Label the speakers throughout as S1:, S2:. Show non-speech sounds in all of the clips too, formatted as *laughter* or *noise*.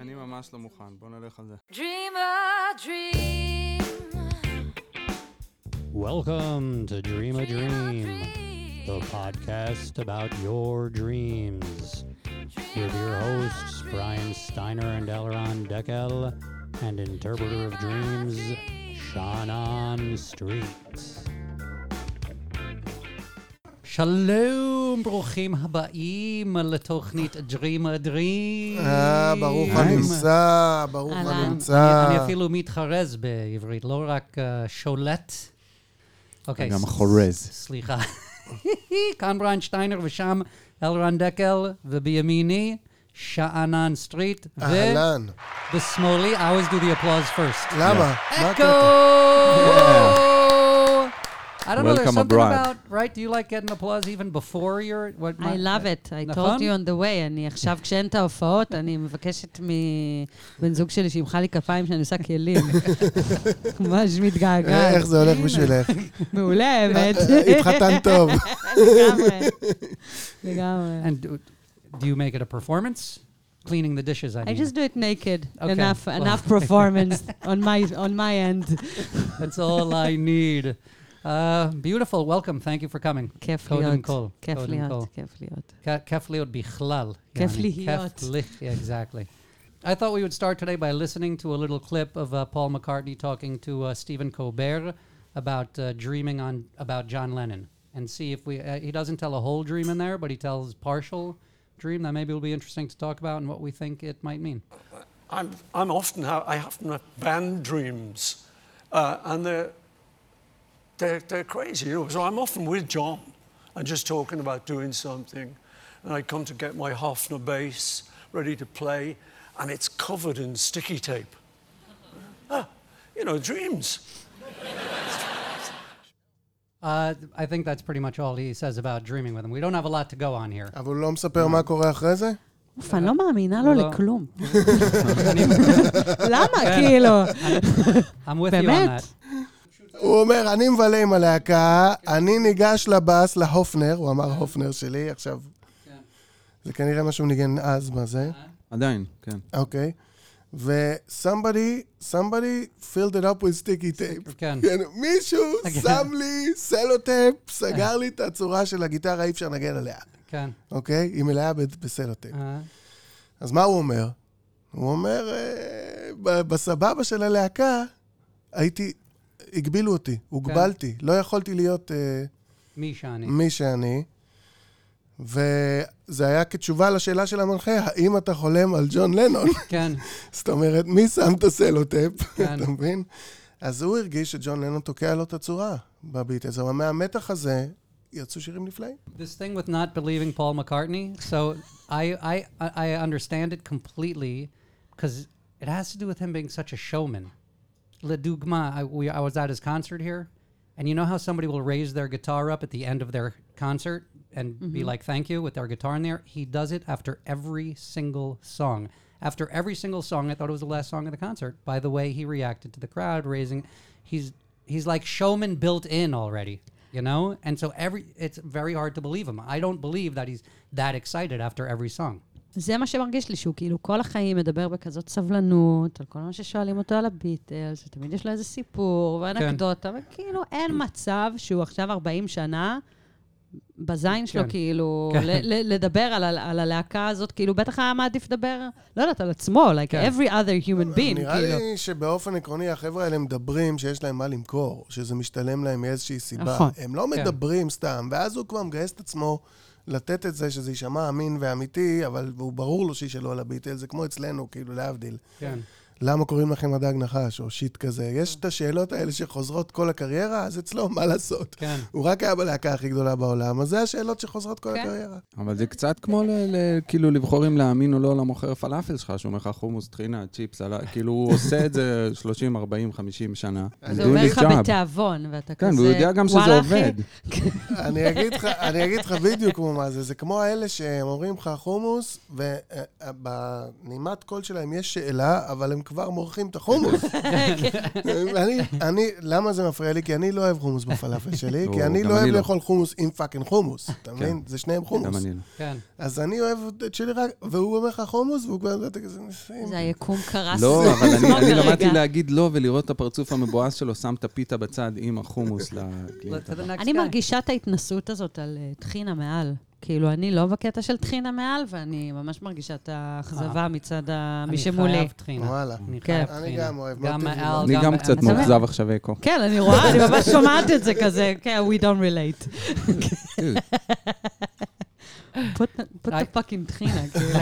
S1: אני ממש לא מוכן, בוא נלך על זה.
S2: Dream a dream.
S3: Welcome to Dream a
S2: Dream a
S3: Dream, the
S2: dream.
S3: podcast about your dreams. With your hosts, Brian Steiner and Elron Deckel, and interpreter of dreams, Shannon Streets. שלום, ברוכים הבאים לתוכנית Dream a Dream.
S4: אה, ברוך הנמצא, ברוך
S2: אהלן.
S4: הנמצא.
S3: אני אפילו מתחרז בעברית, לא רק אה, שולט. אוקיי.
S5: גם
S3: ס-
S5: חורז.
S3: ס- סליחה. *laughs* כאן ברן שטיינר ושם אלרן דקל, ובימיני שאנן סטריט,
S4: אהלן.
S3: ובשמאלי, I always do the applause first.
S4: למה? מה
S3: Echo!
S4: הקטע?
S3: I don't know, there's
S5: Welcome
S3: something
S5: abroad.
S3: about, right? Do you like getting applause even before your... what-
S6: I
S3: my-
S6: love it, I
S3: נכון?
S6: told you on the way. אני עכשיו, כשאין את ההופעות, אני מבקשת מבן זוג שלי שימחא לי כפיים שאני עושה *laughs* כלים. ממש
S4: אה,
S6: מתגעגעת.
S4: איך זה הולך בשבילך?
S3: *laughs*
S6: מעולה, *laughs* האמת.
S4: התחתן טוב.
S6: לגמרי. לגמרי.
S3: And do, do you make it a performance? Cleaning the dishes, I
S6: I
S3: mean.
S6: just do it naked.
S3: Okay.
S6: Enough,
S3: Well.
S6: enough performance on my, on my end.
S3: *laughs* That's all I need. Uh, beautiful, welcome, thank you for coming.
S6: כיף
S3: קודם
S6: להיות.
S3: כל,
S6: כיף
S3: קודם כל.
S6: להיות, כיף להיות.
S3: Ke- כיף להיות בכלל.
S6: כיף
S3: יעני.
S6: להיות.
S3: כיף לי- yeah, exactly. I thought we would start today by listening to a little clip of uh, Paul McCartney talking to uh, Stephen Colbert about uh, dreaming on about John Lennon, and see if we. Uh, he doesn't tell a whole dream in there, but he tells partial dream that maybe will be interesting to talk about and what we think it might mean.
S7: I'm, I'm often ha- I often have band dreams, uh, and they're, they're, they're crazy, you know. So I'm often with John and just talking about doing something, and I come to get my Hofner bass ready to play, and it's covered in sticky tape. Ah, you know, dreams.
S3: Uh, th- I think that's pretty much all he says about dreaming with him. We don't have a lot to go on here.
S4: אבל הוא לא מספר מה קורה אחרי זה?
S6: אוף, אני לא מאמינה לו
S3: לא. *laughs*
S6: לכלום. למה, כאילו?
S3: I'm with you on
S6: באמת?
S3: that.
S4: הוא אומר, אני מבלה עם הלהקה, אני ניגש לבאס, להופנר, הוא אמר הופנר שלי עכשיו.
S3: כן.
S4: זה כנראה מה שהוא ניגן אז, מה זה?
S3: אה?
S5: עדיין, כן.
S4: אוקיי. ו-somebody, somebody filled it up with sticky tape.
S3: כן.
S4: כן,
S3: *laughs*
S4: מישהו שם לי סלוטייפ, סגר לי את הצורה של הגיטרה, אי אפשר לנגן עליה.
S3: כן.
S4: אוקיי? היא מלאה ב- בסלוטייפ.
S3: אה,
S4: אז מה הוא אומר? הוא אומר, אה, ב- בסבבה של הלהקה, הייתי, הגבילו אותי, הוגבלתי, לא יכולתי להיות אה,
S3: מי שאני.
S4: מי שאני. וזה היה כתשובה לשאלה של המנחה, האם אתה חולם על ג'ון לנון? *laughs*
S3: כן.
S4: זאת אומרת, מי שם את הסלוטייפ?
S3: כן.
S4: *laughs* אתה מבין? אז הוא הרגיש שג'ון לנון תוקע לו את הצורה בביט הזה, אבל מהמתח הזה יצאו שירים נפלאים.
S3: This thing with not believing Paul McCartney. So I I I understand it completely because it has to do with him being such a showman. Ledugma, I, we, I was at his concert here, and you know how somebody will raise their guitar up at the end of their concert and be like, "Thank you" with their guitar in there. He does it after every single song. After every single song, I thought it was the last song of the concert. By the way, he reacted to the crowd raising. He's he's like showman built in already, you know. And so every it's very hard to believe him. I don't believe that he's that excited after every song.
S6: זה מה שמרגיש לי, שהוא כאילו כל החיים מדבר בכזאת סבלנות, על כל מה ששואלים אותו על הביטלס, שתמיד יש לו איזה סיפור ואנקדוטה,
S5: כן.
S6: וכאילו אין מצב שהוא עכשיו 40 שנה בזין שלו,
S3: כן.
S6: כאילו,
S3: כן.
S6: ל- ל- לדבר על ה- על הלהקה הזאת, כאילו, בטח היה מעדיף לדבר, לא יודעת, על עצמו, like
S3: כן.
S6: every other human being,
S4: נראה
S6: כאילו.
S4: לי שבאופן עקרוני החבר'ה האלה מדברים שיש להם מה למכור, שזה משתלם להם מאיזושהי סיבה.
S6: נכון.
S4: הם לא
S3: כן.
S4: מדברים סתם, ואז הוא כבר מגייס את עצמו לתת את זה שזה יישמע אמין ואמיתי, אבל הוא ברור לו שהיא שלו על הביטל, זה כמו אצלנו, כאילו, להבדיל.
S3: Yeah.
S4: למה קוראים לכם הדג נחש, או שיט כזה.
S6: כן.
S4: יש את השאלות האלה שחוזרות כל הקריירה, אז אצלו, מה לעשות?
S3: כן.
S4: הוא רק היה בלהקה הכי גדולה בעולם, אז זה השאלות שחוזרות כל
S6: כן.
S4: הקריירה.
S5: אבל זה קצת כמו ל- ל- כאילו לבחור אם להאמין או לא למוכר פלאפל שלך, שהוא אומר לך חומוס, טחינה, צ'יפס, עלה- כאילו הוא עושה את
S1: *laughs*
S5: זה 30, 40, 50 שנה. I'm
S6: זה
S5: doing
S6: אומר לך
S5: the job.
S6: בתיאבון, ואתה
S5: כן,
S6: כזה...
S5: והוא יודע גם שזה
S6: "וואלה, אחי,
S5: עובד.
S4: אני אגיד לך, אני אגיד לך בדיוק כמו מה זה, זה כמו האלה שהם אומרים לך חומוס, ובנימת קול שלהם יש שאלה, אבל הם כבר מורחים
S3: *laughs*
S4: את החומוס.
S3: כן.
S4: אני, אני, למה זה מפריע לי? כי אני לא אוהב חומוס בפלאפל שלי, כי
S5: או,
S4: אני
S5: גם אני
S4: לא אוהב
S5: לא. כן.
S4: לאכול חומוס עם פאקינג חומוס, אתה מבין? זה שניהם
S5: גם
S4: חומוס.
S5: אני לא.
S3: כן.
S4: אז אני אוהב את שלי רק, והוא אומר לך חומוס, והוא כבר... אתה כזה, "שים".
S6: זה היקום קרס.
S5: לא,
S6: *laughs* לי
S5: אבל
S6: כבר
S5: אני- אני
S6: כרגע.
S5: למדתי להגיד לא ולראות את הפרצוף המבואס שלו, שם את הפיתה בצד עם
S6: *laughs*
S5: החומוס לקלינט.
S3: To the next
S6: אני
S3: guy.
S6: מרגישה את ההתנסות הזאת על אה, טחינה מעל. כאילו, אני לא בקטע של טחינה מעל, ואני ממש מרגישה את האכזבה מצד ה-
S3: אה,
S6: מי
S3: אני *laughs*
S6: שמולי.
S3: חייב טחינה.
S4: וואלה.
S3: אני
S6: כן.
S3: חייב
S4: אני
S3: טחינה.
S4: גם אוהב, לא
S3: גם
S4: טבעי,
S3: האל,
S5: אני גם
S3: האל.
S5: קצת
S6: אתה מבין?
S5: מאוכזב עכשיו, אקו.
S6: כן, אני רואה, אני
S3: *laughs*
S6: ממש שומעת את זה כזה, כן, we don't relate. Put the- put the fucking
S3: *laughs*
S6: טחינה, כאילו.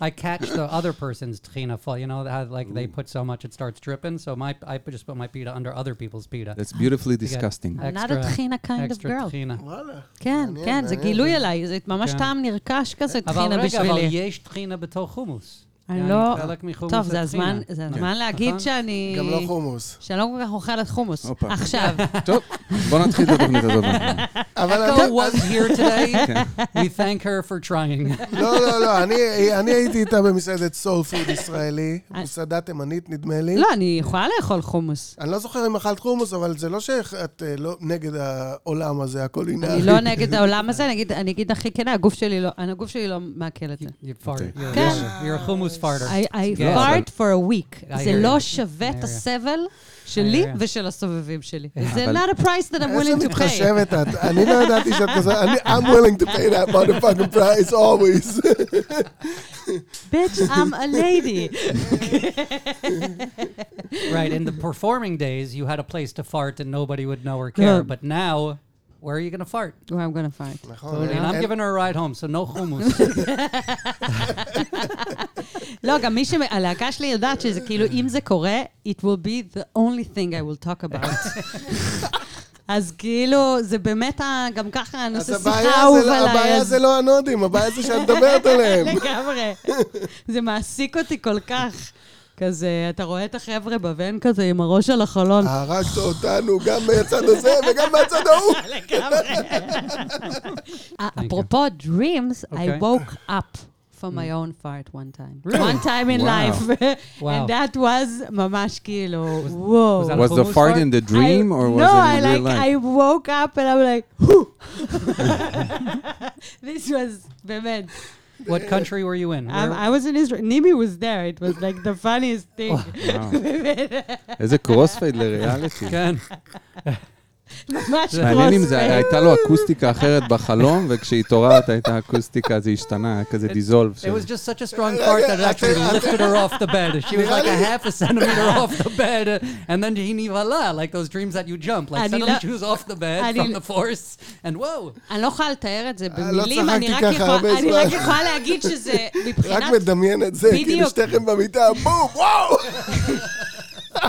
S3: I catch
S6: *coughs*
S3: the other person's tchina fall. You know how like they put so much it starts dripping. So my I put- just put my pita under other people's pita.
S5: That's beautifully
S6: *laughs*
S5: disgusting.
S6: I'm not
S3: Extra-
S6: a טחינה kind of
S3: Extra
S6: girl.
S3: tchina.
S4: וואלה.
S6: כן,
S4: מעניין,
S6: כן, זה
S4: מעניין.
S6: גילוי אליי, זה ממש
S3: כן.
S6: טעם נרכש כזה,
S3: אבל
S6: טחינה
S3: רגע, אבל
S6: בשבילי.
S3: יש טחינה בתור חומוס.
S6: אני
S3: יעני,
S6: לא...
S3: חלק מחומוס
S6: טוב, זה
S3: זה
S6: הזמן *laughs*
S3: טחינה.
S6: זה הזמן להגיד
S3: נכון.
S6: שאני...
S4: כן. גם לא חומוס.
S6: שאני לא כל כך אוכלת חומוס.
S5: הופה.
S3: *laughs*
S6: עכשיו,
S5: טוב, בוא נתחיל את התוכנית
S6: *laughs*
S5: הזאת.
S4: אבל אני-
S3: Echo was here today. We thank her for trying.
S4: לא, לא, לא, אני- אני הייתי איתה במסעדת סול פוד ישראלי, מסעדה תימנית נדמה לי.
S6: לא, אני יכולה לאכול חומוס.
S4: אני לא זוכר אם אכלת חומוס, אבל זה לא שאת אה, לא נגד העולם הזה, הקולינרי.
S6: אני לא נגד העולם הזה, אני אגיד- אני אגיד הכי כנה, הגוף שלי לא- הגוף שלי לא מעכל את זה.
S3: You fart.
S5: Okay.
S3: You're,
S6: Can-
S3: you're- you're a hummus farter.
S6: I I
S4: כן,
S3: Yeah.
S6: fart for a week.
S3: I
S6: זה
S3: hear
S6: לא
S3: you.
S6: שווה
S3: I hear
S6: את
S3: you.
S6: הסבל שלי
S3: I hear you.
S6: ושל הסובבים שלי. זה
S5: אבל-
S6: not a price that I'm willing
S4: איזה
S6: to pay.
S4: מתחשבת את? אני לא ידעתי שאת כזה, אני, I'm willing to pay that motherfucking price always.
S6: bitch, I'm a lady.
S3: right. In the performing days, you had a place to fart and nobody would know or care.
S6: No.
S3: But now, where are you going to fart?
S6: Well, I'm gonna fart.
S4: נכון,
S3: And I'm
S4: אין-
S3: giving her a ride home, so
S6: *laughs*
S3: no hummus.
S6: לא, גם מי ש... הלהקה שלי יודעת שזה כאילו, אם זה קורה, it will be the only thing I will talk
S4: *laughs*
S6: about. אז כאילו, זה באמת, ה- גם ככה
S4: אז
S6: הנושא שיחה
S4: הבעיה
S6: האהוב
S4: זה לא-
S6: עליי.
S4: הבעיה
S6: אז-
S4: זה לא הנודים, הבעיה זה שאת מדברת עליהם.
S6: לגמרי. זה מעסיק אותי כל כך. כזה, אתה רואה את החבר'ה בבן כזה עם הראש על החלון.
S4: הרגת אותנו גם מהצד הזה וגם מהצד ההוא.
S5: *laughs*
S6: לגמרי. אה, אפרופו dreams, I
S3: אוקיי.
S6: woke up from my own fart one time.
S3: Really?
S6: one time in
S5: Wow.
S6: life. *laughs*
S3: Wow.
S6: And that was ממש כאילו, וואו.
S3: that a
S5: Was the
S3: hummus
S5: fart in the dream
S6: לא- I-
S5: or was
S6: no,
S5: it
S6: I
S5: in real
S6: like I
S5: life?
S6: woke up and I'm like, whoo. *laughs* this was באמת.
S3: what country were you in?
S6: I,
S3: Where-
S6: I was in Israel. Nimi was there. It was like the funniest thing.
S5: Oh. וואו. איזה קרוספייד לריאליטי.
S3: *laughs* Again.
S6: ממש
S5: מעניין אם זה
S6: crossfade.
S5: הייתה לו אקוסטיקה אחרת בחלום, וכשהתעוררת הייתה אקוסטיקה, זה השתנה, היה כזה דיזולב.
S3: It was just such a strong fart that it actually lifted her off the bed. She was like a half a centimeter off the bed, uh, and then Jini Vala, like those dreams that you jump, like
S6: Ani
S3: suddenly
S6: la-
S3: she was off the bed
S6: Ani
S3: from
S6: la-
S3: the force, and whoa,
S6: אני לא יכולה לתאר את זה
S4: לא
S6: במילים,
S4: צחקתי
S6: אני רק
S4: ככה
S6: יכולה-
S4: הרבה
S6: אני רק
S4: זמן.
S6: יכולה להגיד שזה
S4: *laughs* רק
S6: מבחינת
S4: מדמיין את זה, כאילו
S6: בדיוק.
S4: שתיכם במיטה, בום, וואו!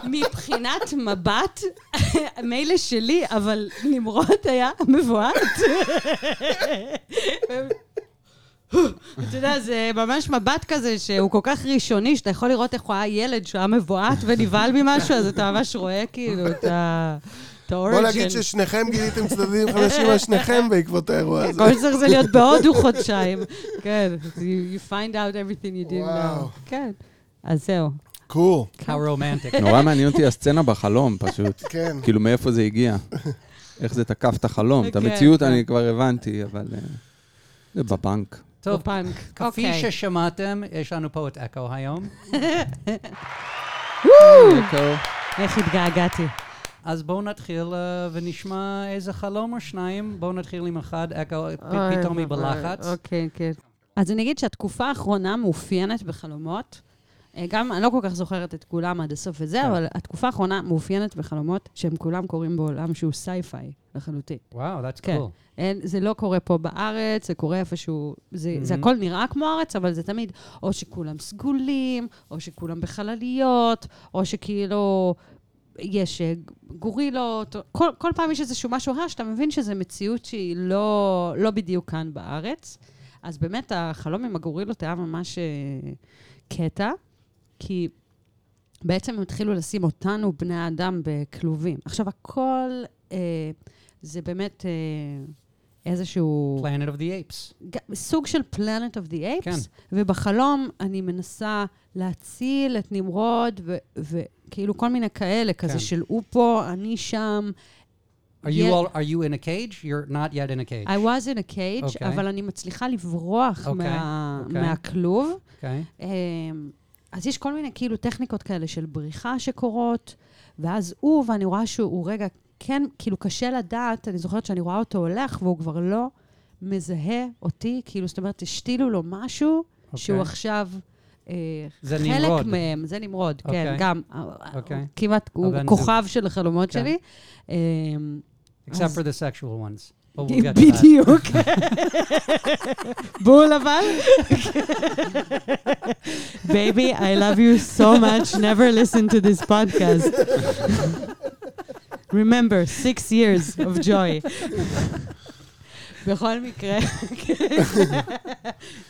S6: מבחינת מבט, *laughs* מילא שלי, אבל נמרוד היה מבועת. אתה יודע, זה ממש מבט כזה שהוא כל כך ראשוני, שאתה יכול לראות איך הוא היה ילד שהיה מבועת ונבהל ממשהו, אז אתה ממש רואה כאילו את ה... את
S4: בוא
S6: האוריג'ן.
S4: נגיד ששניכם גיליתם צדדים חדשים על שניכם בעקבות האירוע הזה.
S6: כל שצריך זה להיות בהודו חודשיים. כן, you- you find out everything you didn't
S4: וואו.
S6: know. כן. אז זהו.
S4: קור.
S3: how
S6: *laughs*
S3: romantic.
S5: נורא מעניין אותי הסצנה בחלום,
S4: *laughs*
S5: פשוט.
S4: כן.
S5: כאילו, מאיפה זה הגיע? איך זה תקף את החלום? את
S6: כן,
S5: המציאות
S6: כן.
S5: אני כבר הבנתי, אבל... אה, זה בבנק.
S3: טוב,
S6: בפאנק.
S3: כפי
S6: אוקיי.
S3: ששמעתם, יש לנו פה את אקו היום.
S6: איך התגעגעתי.
S3: אז בואו נתחיל אה, ונשמע איזה חלום או שניים. בואו נתחיל עם אחד, אקו, פ-
S6: Oh,
S3: פתאום היא בלחץ.
S6: אוקיי, כן. אז אני אגיד שהתקופה האחרונה מאופיינת בחלומות. אה, גם, אני לא כל כך זוכרת את כולם עד הסוף וזה, אבל התקופה האחרונה מאופיינת בחלומות שהם כולם קורים בעולם שהוא סייפיי לחלוטין.
S3: וואו, that's
S6: כן.
S3: cool.
S6: אין, זה לא קורה פה בארץ, זה קורה איפשהו, זה, mm-hmm. זה
S3: Mhm.
S6: הכל נראה כמו ארץ, אבל זה תמיד או שכולם סגולים, או שכולם בחלליות, או שכאילו יש אה, גורילות, או- כל, כל פעם יש איזשהו משהו אחר, שאתה מבין שזו מציאות שהיא לא, לא בדיוק כאן בארץ. אז באמת החלום עם הגורילות היה ממש אה, קטע, כי בעצם הם התחילו לשים אותנו, בני האדם, בכלובים. עכשיו, הכל, אה, זה באמת אה, איזשהו...
S3: Planet of the Apes.
S6: ג- סוג של Planet of the Apes,
S3: כן.
S6: כן. ובחלום אני מנסה להציל את נמרוד, ו- וכאילו כל מיני כאלה, כזה
S3: כן.
S6: של הוא פה, אני שם.
S3: Are you
S6: Yeah.
S3: all, are you in a cage? You're not yet in a cage.
S6: I was in a cage,
S3: אוקיי.
S6: okay. אבל אני מצליחה לברוח okay.
S3: אוקיי,
S6: מה- okay.
S3: אוקיי.
S6: מהכלוב.
S3: Okay.
S6: אמ, אז יש כל מיני כאילו טכניקות כאלה של בריחה שקורות, ואז הוא, ואני רואה שהוא רגע, כן, כאילו קשה לדעת, אני זוכרת שאני רואה אותו הולך, והוא כבר לא מזהה אותי, כאילו, זאת אומרת, השתילו לו משהו, okay. שהוא עכשיו... אה,
S3: אוקיי. זה
S6: חלק
S3: נמרוד.
S6: מהם, זה נמרוד, okay. כן,
S3: אוקיי.
S6: גם,
S3: אוקיי.
S6: okay. כמעט, הוא
S3: הבנתי.
S6: כוכב של החלומות okay.
S3: כן.
S6: שלי. אמ,
S3: Except
S6: אז-
S3: for the sexual ones. But we'll get to that.
S6: בדיוק. *laughs* בול אבל. Baby, I love you so much, never listen to this podcast. *laughs* Remember, six years of joy. *laughs* בכל *laughs* מקרה,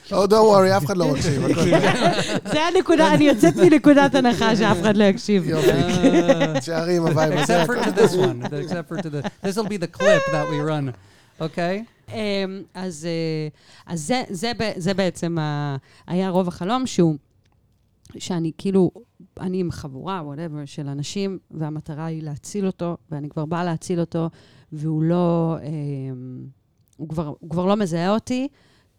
S4: Oh, don't worry, אף אחד לא מקשיב. הכל
S3: *laughs*
S4: טוב.
S6: זה הנקודה, אני יוצאת מנקודת הנחה שאף אחד לא יקשיב.
S3: *laughs* Uh,
S4: תשארי עם הווייב הזה.
S3: except for to this one. The- Except for to the. This will be the clip that we run. Okay.
S6: אמ, אז, אה, אז זה, זה, ב- זה בעצם ה, היה רוב החלום, שהוא, שאני כאילו, אני עם חבורה, וואטאבר, של אנשים, והמטרה היא להציל אותו, ואני כבר באה להציל אותו, והוא לא, אמ, הוא כבר, הוא כבר לא מזהה אותי.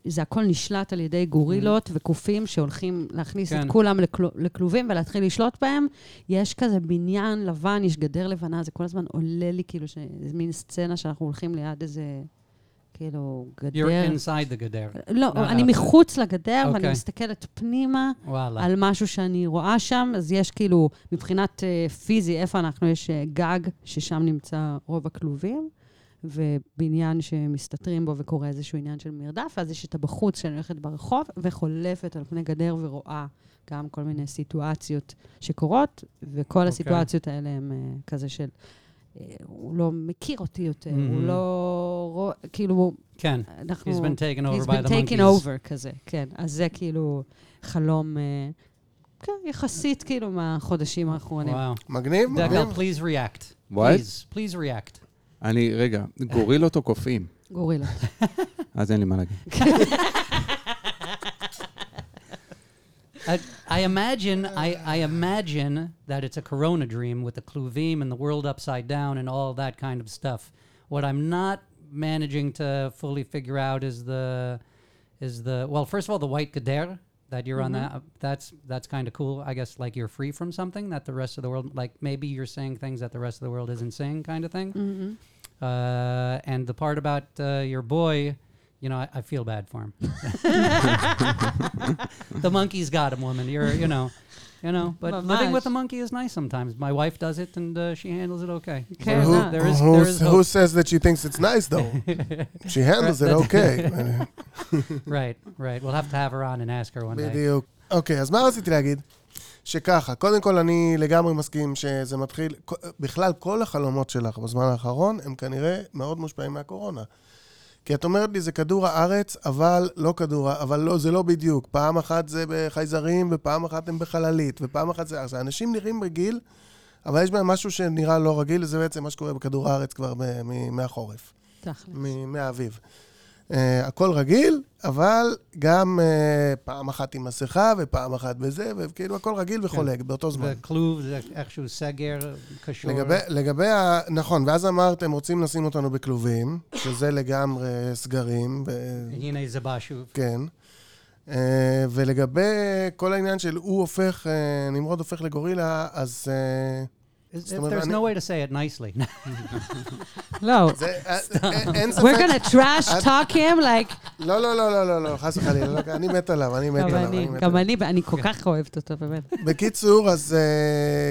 S6: זה הכל נשלט על ידי גורילות וקופים שהולכים להכניס
S3: כן.
S6: את כולם לכל, לכלובים ולהתחיל לשלוט בהם. יש כזה בניין לבן, יש גדר לבנה, זה כל הזמן עולה לי כאילו, ש... זה מין סצנה שאנחנו הולכים ליד איזה, כאילו,
S3: You're
S6: גדר.
S3: inside the Gadara.
S6: לא,
S3: לא,
S6: אני
S3: לא.
S6: מחוץ לגדר, ואני
S3: אוקיי.
S6: מסתכלת פנימה
S3: Voila.
S6: על משהו שאני רואה שם, אז יש כאילו, מבחינת אה, פיזי, איפה אנחנו, יש אה, גג, ששם נמצא רוב הכלובים, ובניין שמסתתרים בו וקורה איזשהו עניין של מרדף, ואז יש את הבחוץ שאני הולכת ברחוב, וחולפת על פני גדר ורואה גם כל מיני סיטואציות שקורות,
S3: אוקיי.
S6: וכל הסיטואציות האלה הם אה, כזה של... אה, הוא לא מכיר אותי יותר, הוא
S3: Mhm.
S6: לא... רוא- כאילו,
S3: Ken.
S6: אנחנו...
S3: He's been taken over
S6: Oh, He's
S3: by
S6: been
S3: the
S6: taken
S3: monkeys.
S6: over כזה, כן. אז זה כאילו חלום, אה, כן, יחסית כאילו מהחודשים האחרונים.
S3: Wow.
S4: מגניב? מגניב?
S3: Deco, please react.
S5: What?
S3: Please, please react.
S5: אני, רגע, גורילות או קופאים?
S6: גורילה.
S5: אז אין לי מה להגיד.
S3: I, I imagine, I, I imagine that it's a Corona dream with the Cluvim and the world upside down and all that kind of stuff. What I'm not managing to fully figure out is the, is the well, first of all, the white gader that you're on that that's that's kind of cool. I guess like you're free from something that the rest of the world like maybe you're saying things that the rest of the world isn't saying kind of thing. Uh, and the part about uh, your boy, you know, I, I feel bad for him. the monkey's got him, woman. You're, you know, you know. But living with a
S6: Mamash.
S3: monkey is nice sometimes. My wife does it, and uh, she handles it okay. So
S6: Fair enough.
S3: there is,
S4: Who-
S3: there is
S4: Who
S3: hope.
S4: says that she thinks it's nice, though? She handles it okay.
S3: right, right. We'll have to have her on and ask her one day.
S4: בדיוק. אוקיי, אז מה רציתי להגיד? שככה, קודם כל אני לגמרי מסכים שזה מתחיל, כ- בכלל כל החלומות שלך בזמן האחרון הם כנראה מאוד מושפעים מהקורונה. כי את אומרת לי, זה כדור הארץ, אבל לא כדור, ה- אבל לא, זה לא בדיוק. פעם אחת זה בחייזרים, ופעם אחת הם בחללית, ופעם אחת זה... אז האנשים נראים רגיל, אבל יש בהם משהו שנראה לא רגיל, זה בעצם מה שקורה בכדור הארץ כבר ב- מ- מהחורף.
S6: תכל'ס.
S4: מ- מהאביב. Uh, הכל רגיל, אבל גם uh, פעם אחת עם מסכה ופעם אחת בזה, וכאילו הכל
S6: כן.
S4: רגיל וחולק באותו זמן.
S3: The clue, the actual seger, kashur.
S4: לגבי, לגבי ה... נכון, ואז אמרתם, רוצים לשים אותנו בכלובים, שזה לגמרי סגרים, ו...
S3: Hine zabashu.
S4: כן. אה, ולגבי כל העניין של הוא הופך, אה, נמרוד הופך לגורילה, אז אה,
S3: Is-
S4: Some of
S3: There's
S4: an-
S3: no way to say it *laughs* nicely.
S6: לא.
S4: זה... אה, אה, אין ספק...
S6: We're gonna trash talk him, like...
S4: *laughs* לא, לא, לא, לא, לא, לא, חס וחלילה, לא, אני מת עליו, אני מת
S6: גם
S4: עליו.
S6: אני,
S4: מת
S6: גם
S4: עליו.
S6: אני, אני
S3: כן.
S6: כל כך אוהבת אותו,
S4: *laughs*
S6: באמת.
S4: בקיצור, אז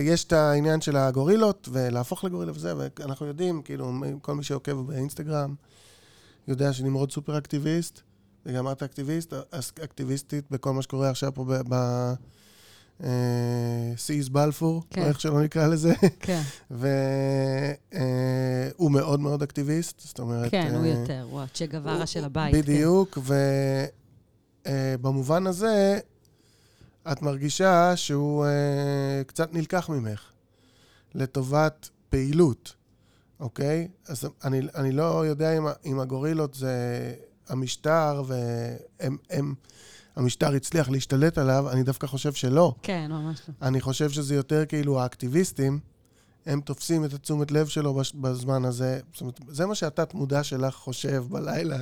S4: uh, יש את העניין של הגורילות, ולהפוך לגורילה וזה, ואנחנו יודעים, כאילו, מ- כל מי שעוקב באינסטגרם, יודע שנמרוד סופר אקטיביסט, וגם את אקטיביסט, אס- אקטיביסטית בכל מה שקורה עכשיו פה ב... ב סיס בלפור,
S6: כן.
S4: או איך שלא נקרא לזה, *laughs*
S6: כן,
S4: והוא מאוד מאוד אקטיביסט, זאת אומרת...
S6: כן, הוא
S4: אה,
S6: יותר, הוא הצ'ה גווארה של הבית. כן.
S4: בדיוק, ובמובן הזה, את מרגישה שהוא אה, קצת נלקח ממך, לטובת פעילות. אוקיי? אז אני, אני לא יודע אם, ה- אם הגורילות זה המשטר, והם... הם, המשטר הצליח להשתלט עליו, אני דווקא חושב שלא.
S6: כן, ממש לא.
S4: אני חושב שזה יותר כאילו האקטיביסטים, הם תופסים את התשומת לב שלו בש- בזמן הזה. זאת אומרת, זה מה שהתת-מודע שלך חושב בלילה,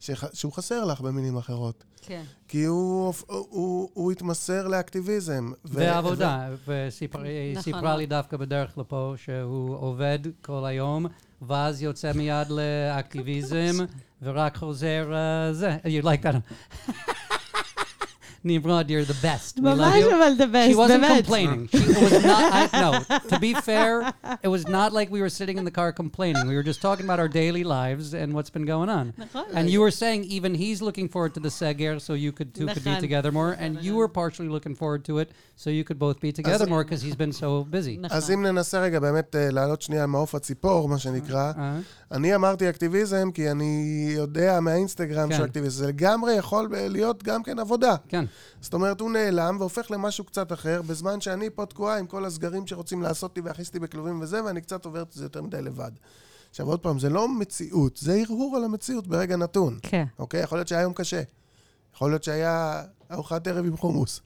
S4: שח, שהוא חסר לך במילים אחרות.
S6: כן.
S4: כי הוא, הוא, הוא, הוא התמסר לאקטיביזם. ו-
S3: ועבודה, וסיפר- היא
S6: נכון.
S3: סיפרה לי דווקא בדרך לפה שהוא עובד כל היום, ואז יוצא מיד
S6: *laughs*
S3: לאקטיביזם, ורק חוזר אה, זה. You like that. *laughs* נמרוד, you're the best. We love
S6: ממש
S3: you.
S6: אבל the
S3: She
S6: best,
S3: wasn't
S6: באמת.
S3: complaining. She it was not. I, no, to be fair, it was not like we were sitting in the car complaining. We were just talking about our daily lives and what's been going on. and you were saying even he's looking forward to the Seger, so you could two could be
S6: נכון.
S3: together more. And you were partially looking forward to it, so you could both be together more because he's been so busy.
S6: נכון.
S4: אז אם ננסה רגע באמת אה, לעלות שנייה על מעוף הציפור, מה שנקרא,
S3: אה,
S4: אני אמרתי אקטיביזם כי אני יודע מהאינסטגרם
S3: כן.
S4: שהוא אקטיביסט. זה לגמרי יכול אה, להיות גם כן עבודה.
S3: כן.
S4: זאת אומרת, הוא נעלם והופך למשהו קצת אחר, בזמן שאני פה תקועה עם כל הסגרים שרוצים לעשות לי ולהכניס אותי בכלובים וזה, ואני קצת עובר את זה יותר מדי לבד. עכשיו, עוד פעם, זה לא מציאות, זה הרהור על המציאות ברגע נתון.
S6: כן.
S4: אוקיי? יכול להיות שהיה יום קשה. יכול להיות שהיה ארוחת ערב עם חומוס.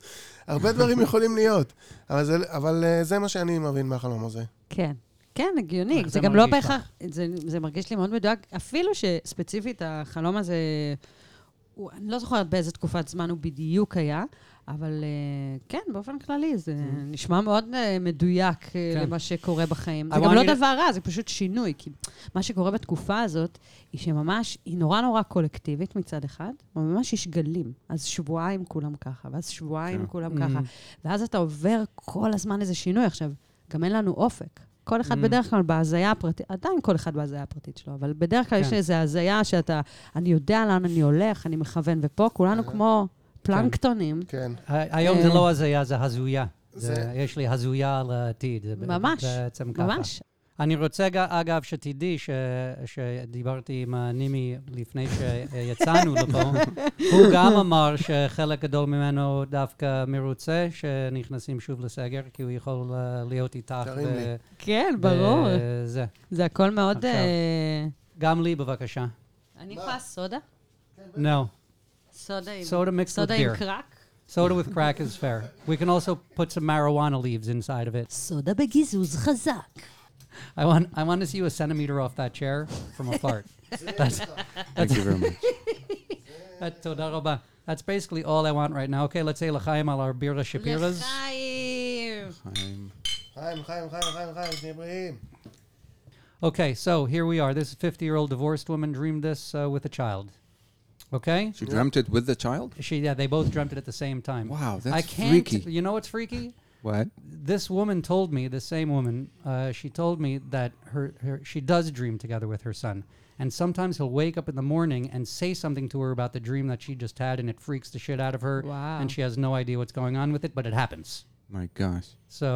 S4: הרבה דברים יכולים להיות. אבל זה, אבל אה, זה מה שאני מבין מהחלום הזה.
S6: כן. כן, הגיוני.
S3: איך
S6: זה
S3: זה
S6: גם לא
S3: מרגיש
S6: בהכרח... זה, זה מרגיש לי מאוד מדויק, אפילו שספציפית החלום הזה, הוא, אני לא זוכרת באיזה תקופת זמן הוא בדיוק היה, אבל אה, כן, באופן כללי, זה נשמע מאוד אה, מדויק כן.
S3: כן.
S6: למה שקורה בחיים.
S3: I
S6: זה גם לא
S3: wanted-
S6: דבר רע, זה פשוט שינוי. כי מה שקורה בתקופה הזאת, היא שממש, היא נורא נורא קולקטיבית מצד אחד, וממש יש גלים. אז שבועיים כולם ככה, ואז שבועיים
S5: כן.
S6: כולם ככה. ואז אתה עובר כל הזמן איזה שינוי. עכשיו, גם אין לנו אופק. כל אחד
S3: Mm.
S6: בדרך כלל בהזיה הפרטית, עדיין כל אחד בהזיה הפרטית שלו, אבל בדרך כלל יש
S3: כן.
S6: איזו הזיה שאתה, אני יודע לאן אני הולך, אני מכוון, ופה כולנו
S3: אה,
S6: כמו פלנקטונים.
S4: כן.
S3: היום זה לא הזיה, זה הזויה. זה-
S4: זה-
S3: יש לי הזויה על העתיד. זה ב-
S6: ממש,
S3: בעצם ככה.
S6: ממש.
S3: אני רוצה, ג- אגב, שתדעי ש... שדיברתי עם אה, נימי לפני
S6: *laughs*
S3: שיצאנו לפה, הוא גם אמר שחלק גדול ממנו דווקא מרוצה, שנכנסים שוב לסגר, כי הוא יכול אה, להיות איתך.
S4: תרים לי.
S3: ב-
S6: כן, ברור.
S3: ב- זה.
S6: זה הכל מאוד...
S3: עכשיו.
S6: אה,
S3: גם לי, בבקשה.
S6: אני יכולה סודה?
S3: No.
S6: סודה עם...
S3: Soda mixed
S6: סודה
S3: with
S6: עם
S3: beer.
S6: קרק?
S3: Soda with crack is fair. We can also put some marijuana leaves inside of it.
S6: סודה בגיזוז חזק.
S3: I want, I want to see you a centimeter off that chair from a *laughs* fart.
S5: Thank you very much.
S3: That- תודה רבה. That's basically all I want right now. Okay, let's say לחיים על our בירה שפירס.
S6: לחיים!
S5: חיים.
S4: חיים, חיים, חיים, חיים, חיים, שנהיה בריאים.
S3: Okay, so here we are. This 50 year old divorced woman dreamed this uh, with a child. Okay?
S5: She dreamt it with the child?
S3: She, yeah, they both dreamt it at the same time.
S5: Wow, that's
S3: I can't,
S5: freaky.
S3: You know what's freaky?
S5: What?
S3: This woman told me, the same woman, uh, she told me that her, her she does dream together with her son. And sometimes he'll wake up in the morning and say something to her about the dream that she just had, and it freaks the shit out of her.
S6: Wow.
S3: And she has no idea what's going on with it, but it happens.
S5: My gosh.
S3: So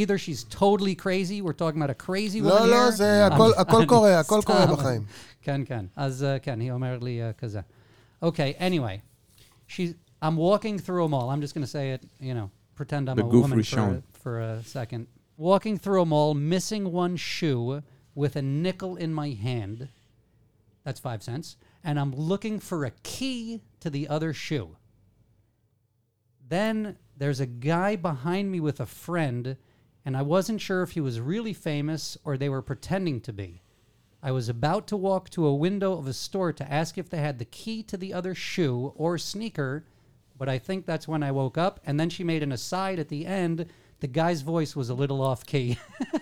S3: either she's totally crazy, we're talking about a crazy
S4: לא,
S3: woman
S4: לא,
S3: here.
S4: זה הכל, הכל קורה, הכל קורה
S3: סתם.
S4: בחיים.
S3: כן, כן. אז uh, כן, היא אומרת לי uh, כזה. Okay, anyway. She's, I'm walking through a mall. I'm just going to say it, you know, pretend I'm a
S5: בגוף
S3: woman
S5: ראשון.
S3: for, for a second. Walking through a mall, missing one shoe with a nickel in my hand. That's five cents. And I'm looking for a key to the other shoe. Then there's a guy behind me with a friend, and I wasn't sure if he was really famous or they were pretending to be. I was about to walk to a window of a store to ask if they had the key to the other shoe or sneaker, but I think that's when I woke up. And then she made an aside at the end. The guy's voice was a little off key. *laughs*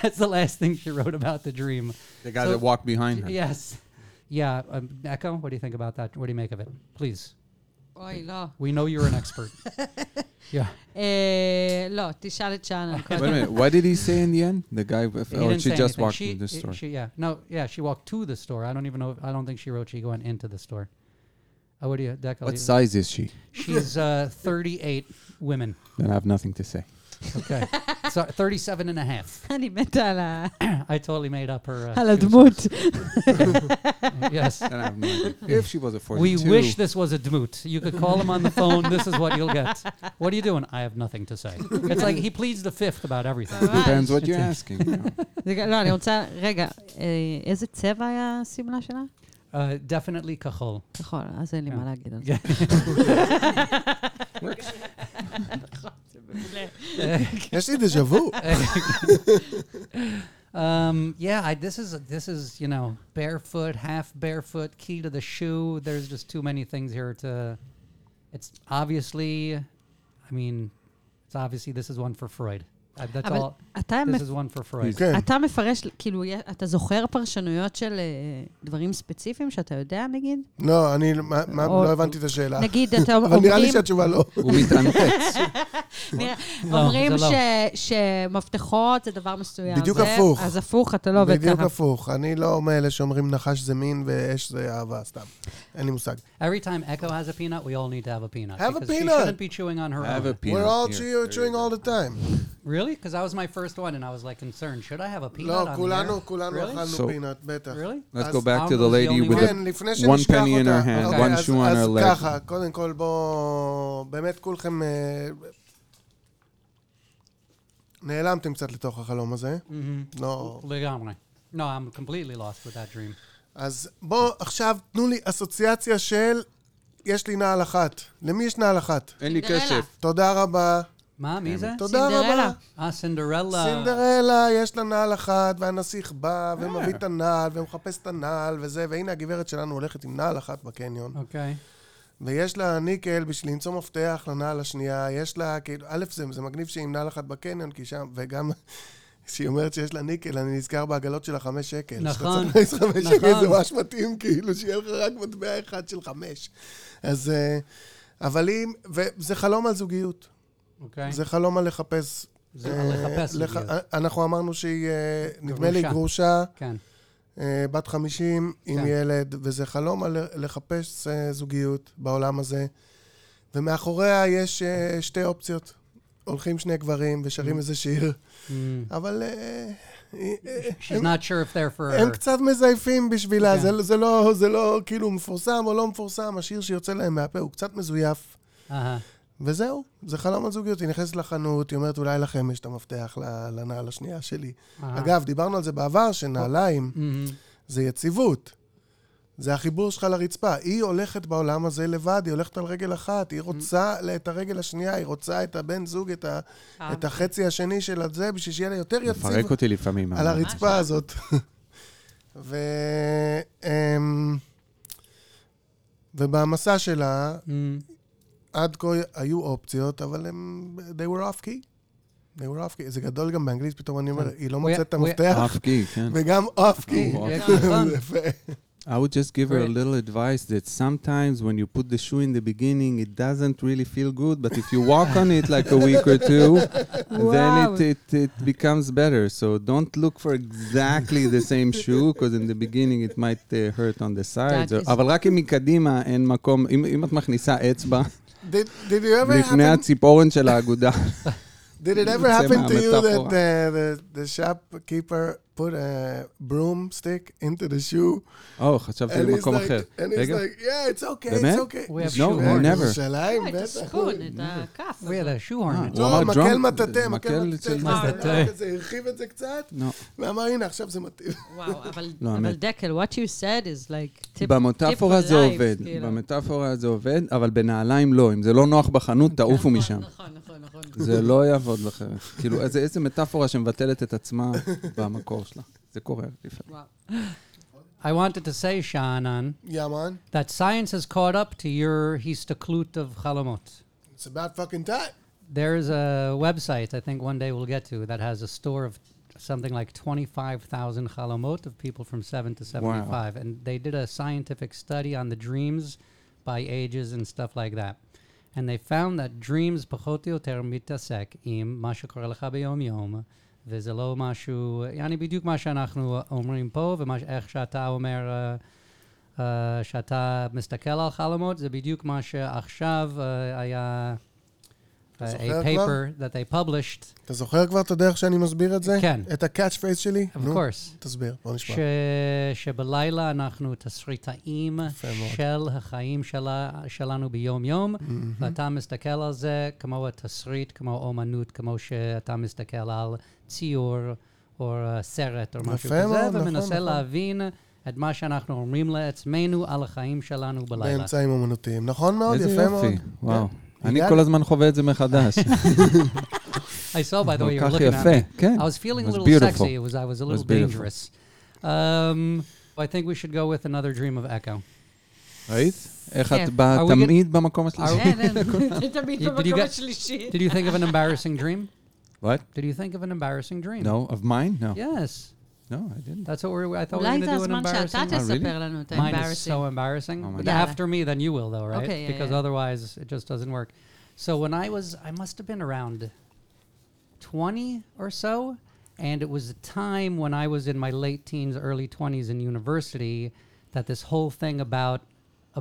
S3: that's the last thing she wrote about the dream.
S5: The guy
S3: So-
S5: that walked behind her.
S3: Yes. Yeah. Um, Echo, what do you think about that? What do you make of it? Please.
S6: אוי, לא.
S3: We know you're an expert. yeah.
S6: אה, לא, תשאל את שאנה.
S3: אוקיי.
S5: Wait a minute. What did he say in the end? The guy, with,
S3: He
S5: or
S3: didn't
S5: Oh, she
S3: say
S5: just
S3: anything.
S5: walked
S3: she,
S5: in the
S3: i-
S5: store.
S3: She, yeah, no, yeah, she walked to the store. I don't even know. If, I don't think she wrote she went into the store. Oh, what do you, Deco?
S5: What
S3: you-
S5: size is she?
S3: She's uh, 38 women.
S5: Then I have nothing to say.
S3: Okay. so 37 and a half. *clears throat*
S6: אני מתה על ה-
S3: I totally made up her. Uh,
S6: על הדמות.
S5: *laughs*
S3: yes.
S5: I don't have no idea. If she was a 42.
S3: We wish this was a dmoot. You could call him on the phone. This is what you'll get. What are you doing? I have nothing to say. It's like he pleads the fifth about everything.
S5: Depends what you're asking. you know.
S6: *laughs* זה גם- לא, אני רוצה, רגע, אה, איזה צבע היה השמלה שלה?
S3: Uh, definitely כחול.
S6: נכון, אז אין לי
S4: כן.
S6: מה להגיד על זה. נכון, זה מעולה.
S4: יש לי דז'ה וו.
S3: Um, yeah, I, this is this is you know barefoot, half barefoot, key to the shoe. There's just too many things here to. It's obviously, I mean, it's obviously this is one for Freud. Uh, that's
S6: אבל
S3: all.
S6: *laughs* אתה
S3: This
S6: מפ-
S3: is one for Freud.
S4: כן.
S6: אתה מפרש, כאילו, יה- אתה זוכר פרשנויות של אה, דברים ספציפיים שאתה יודע, נגיד?
S4: לא, אני מה- מה-
S6: או-
S4: לא הבנתי את השאלה. *laughs*
S6: נגיד, אתה
S4: אבל נראה לי
S6: אומרים...
S4: שהתשובה לא.
S5: הוא מתאנפץ. *laughs*
S6: נראה-
S3: לא,
S6: אומרים
S3: זה לא.
S6: ש- שמפתחות זה דבר מסוים.
S4: בדיוק
S6: זה-
S4: הפוך.
S6: אז הפוך, אתה לא עובד
S4: בדיוק
S6: ככה.
S4: הפוך. אני לא מאלה שאומרים נחש זה מין ואש זה אהבה, סתם. אין לי מושג.
S3: Every time Echo has a peanut, we all need to have a peanut.
S4: Have a
S3: because She
S4: peanut.
S3: shouldn't be chewing on her
S5: I have a
S3: own.
S5: peanut.
S4: We're all
S5: here.
S4: chew- chewing all the time.
S3: Really? Because that was my first one, and I was like concerned. Should I have a peanut?
S4: לא,
S3: on the air?
S4: כולנו, כולנו
S3: Really?
S5: So-
S4: אכלנו פינת, בטח.
S3: Really?
S5: Let's
S4: אז-
S5: go back to the
S3: Arnold's
S5: lady
S3: the only
S5: with
S3: one.
S4: כן,
S5: the
S4: לפני שנשכח
S5: one
S4: אותה.
S5: penny in her hand,
S4: אוקיי,
S5: one
S4: אז-
S5: shoe on her leg.
S4: אז ככה, קודם כל בואו, באמת כולכם אה, נעלמתם קצת לתוך החלום הזה.
S6: Mm-hmm.
S4: לא...
S3: Ligomre. No, I'm completely lost with that dream.
S4: אז בואו עכשיו תנו לי אסוציאציה של יש לי נעל אחת. למי יש נעל אחת?
S5: אין לי
S6: סינדרלה.
S5: כסף.
S4: תודה רבה.
S3: Mom,
S4: כן,
S3: is that?
S4: תודה
S6: סינדרלה.
S4: רבה.
S3: Ah, Cinderella.
S4: סינדרלה, יש לה נעל אחת, והנסיך
S3: אה.
S4: בא ומביא את הנעל ומחפש את הנעל וזה, והנה הגברת שלנו הולכת עם נעל אחת בקניון.
S3: Okay.
S4: ויש לה ניקל בשביל למצוא מפתח לנעל השנייה, יש לה, כאילו, א', זה, זה מגניב שהיא עם נעל אחת בקניון, כי שם, וגם *laughs* כשהיא אומרת שיש לה ניקל, אני נזכר בעגלות של החמש שקל. שאתה
S3: נכון,
S4: צריך להכניס חמש
S3: נכון.
S4: שקל, זה ממש מתאים, כאילו, שיהיה לך רק מטבע אחד של חמש. אז, אה, אבל אם, וזה חלום על זוגיות.
S3: אוקיי. Okay.
S4: זה חלום על לחפש.
S3: זה
S4: אה,
S3: על לחפש
S4: לח-
S3: זוגיות.
S4: אנחנו אמרנו שהיא, אה, נדמה לי,
S3: גרושה.
S4: גרושה.
S3: כן.
S4: אה, בת 50 עם
S3: כן.
S4: ילד, וזה חלום על לחפש אה, זוגיות בעולם הזה. ומאחוריה יש אה, שתי אופציות. הולכים שני גברים
S3: Mm.
S4: ושרים איזה שיר, אבל אה, אה,
S3: She's not sure if they're for
S2: אה.
S4: הם
S3: her.
S4: קצת מזייפים בשבילה,
S3: כן.
S4: זה- זה לא- זה לא כאילו מפורסם או לא מפורסם, השיר שיוצא להם מהפה הוא קצת מזויף.
S3: Uh-huh.
S4: וזהו, זה חלום על זוגיות. היא נכנסת לחנות, היא אומרת, אולי לכם יש את המפתח ל- לנעל השנייה שלי.
S3: אהה.
S4: אגב, דיברנו על זה בעבר, שנעליים...
S3: Mhm.
S4: זה יציבות. זה החיבור שלך לרצפה. היא הולכת בעולם הזה לבד, היא הולכת על רגל אחת, היא רוצה ל- את הרגל השנייה, היא רוצה את הבן זוג, את, ה, את החצי השני של הזה, בשביל שיהיה לה יותר יציב
S5: מפרק אותי לפעמים.
S4: על
S5: אבל-
S4: הרצפה הזאת. *laughs* ו... אמ, ובמסע שלה, *laughs*
S3: Mm.
S4: עד כה היו אופציות, אבל הם... they were off key. they were off key. זה גדול גם באנגלית, פתאום אני אומר, היא לא מוצאת את
S3: we-
S4: המפתח,
S5: אף גי, כן.
S4: וגם off key.
S5: הוא
S3: Yeah,
S5: off.
S3: kind
S4: *laughs*
S3: of fun.
S4: יפה.
S5: I would just give her a
S3: Great.
S5: little advice that sometimes when you put the shoe in the beginning, it doesn't really feel good, but if you walk on it like a week or
S6: *laughs*
S5: two, then
S6: Wow.
S5: it, it, it becomes better. So don't look for exactly the same shoe, because in the beginning it might uh, hurt on the sides.
S6: That is-
S5: אבל רק אם מקדימה אין מקום, אם, אם את מכניסה אצבע
S4: Did, did you ever
S5: לפני
S4: happen,
S5: הציפורן של
S4: *laughs*
S5: האגודה,
S4: did it ever
S5: יוצא
S4: happen to you that
S5: מהמטאפורה.
S4: the, the, the shopkeeper put a broomstick into the shoe
S5: או, חשבתי
S4: and he's
S5: למקום
S4: like,
S5: אחר.
S4: and he's
S5: רגע,
S4: like, yeah, it's okay,
S5: באמת?
S4: it's okay.
S3: We
S5: No,
S3: have shoehorn.
S5: never.
S4: ירושלים,
S6: את
S4: בטח.
S6: השכון, את הכף.
S3: We had a
S5: אה,
S3: shoehorn.
S5: הוא
S4: לא,
S5: אמר
S4: מקל
S5: drum-
S4: מטאטא, מקל *laughs*
S5: של-
S4: מטאטא.
S3: מטאטא.
S4: לקח את זה, הרחיב את זה קצת,
S5: לא.
S4: ואמר, הנה, עכשיו זה מתאים. *laughs*
S6: *laughs* וואו, אבל-
S5: לא,
S6: אבל
S5: האמת.
S6: דקל, what you said is like... tip-
S5: במטאפורה
S6: tip for
S5: זה
S6: life,
S5: עובד,
S6: כאילו.
S5: במטאפורה זה עובד, אבל בנעליים לא. אם זה לא נוח בחנות, תעופו משם.
S6: נכון, נכון, נכון.
S5: זה לא יעבוד לכם. כאילו, איזה איזה מטאפורה שמבטלת את עצמה במקור שלה. זה קורה לפעמים.
S6: וואו.
S3: I wanted to say, Shannon,
S4: Yeah, man.
S3: that science has caught up to your histaklut of Chalamot.
S4: It's about fucking time.
S3: There's a website I think one day we'll get to that has a store of something like 25,000 Chalamot of people from 7 to 75. And they did a scientific study on the dreams by ages and stuff like that. And they found that dreams פחות או יותר מתעסק עם מה שקורה לך *laughs* ביום-יום, וזה לא משהו, יעני בדיוק מה שאנחנו אומרים פה, ואיך שאתה אומר... אה, אה, שאתה מסתכל על חלומות, זה בדיוק מה שעכשיו אה, היה
S2: uh,
S4: זוכר
S2: a
S4: כבר?
S2: paper that they published,
S4: אתה זוכר כבר את הדרך שאני מסביר את זה?
S2: כן.
S4: את ה-catch phrase שלי?
S2: of course,
S4: תסביר, בוא נשמע.
S2: ש... שבלילה אנחנו תסריטאים
S4: יפה מאוד.
S2: של החיים שלה, שלנו ביום-יום, ואתה מסתכל על זה כמו התסריט, כמו אומנות, כמו שאתה מסתכל על ציור או אה, סרט או משהו
S4: יפה
S2: כזה,
S4: מאוד, נכון,
S2: ומנסה
S4: נכון.
S2: להבין את מה שאנחנו אומרים לעצמנו על החיים שלנו בלילה.
S4: באמצעים אומנותיים. נכון מאוד,
S5: איזה
S4: יפה מאוד.
S5: יופי, וואו.
S4: כן.
S5: אני
S4: הגעת-
S5: כל הזמן חווה את זה
S4: *laughs*
S5: מחדש.
S2: I saw, by the
S5: כל
S2: way, you were
S5: כך
S2: looking at me.
S5: יפה, כן.
S2: I was feeling
S5: It was
S2: a little
S5: beautiful.
S2: sexy. It was I was a little
S5: was beautiful.
S2: dangerous. Um, I think we should go with another dream of Echo.
S5: ראית? איך
S6: כן.
S5: את באה
S2: אוקיי. Are we
S5: תמיד במקום
S6: *laughs*
S5: השלישי?
S6: כן, כן, תמיד
S2: You- did you
S6: במקום
S2: get-
S6: השלישי.
S2: Did you think of an embarrassing dream?
S5: What?
S2: Did you think of an embarrassing dream?
S5: No, of mine? No.
S2: Yes,
S5: No, I didn't.
S2: that's what we were. I thought we were
S6: אולי
S2: going
S6: זה
S2: to do an
S6: הזמן שאתה
S2: embarrassing.
S5: Oh, really?
S6: תספר לנו את
S2: Mine is so
S6: ה-embarrassing.
S2: embarrassing.
S5: Oh my
S2: but
S6: God.
S2: after me, then you will, though, right?
S6: Okay, yeah,
S2: because
S6: yeah.
S2: otherwise, it just doesn't work. So when I was, I must have been around twenty or so, and it was a time when I was in my late teens, early twenties in university, that this whole thing about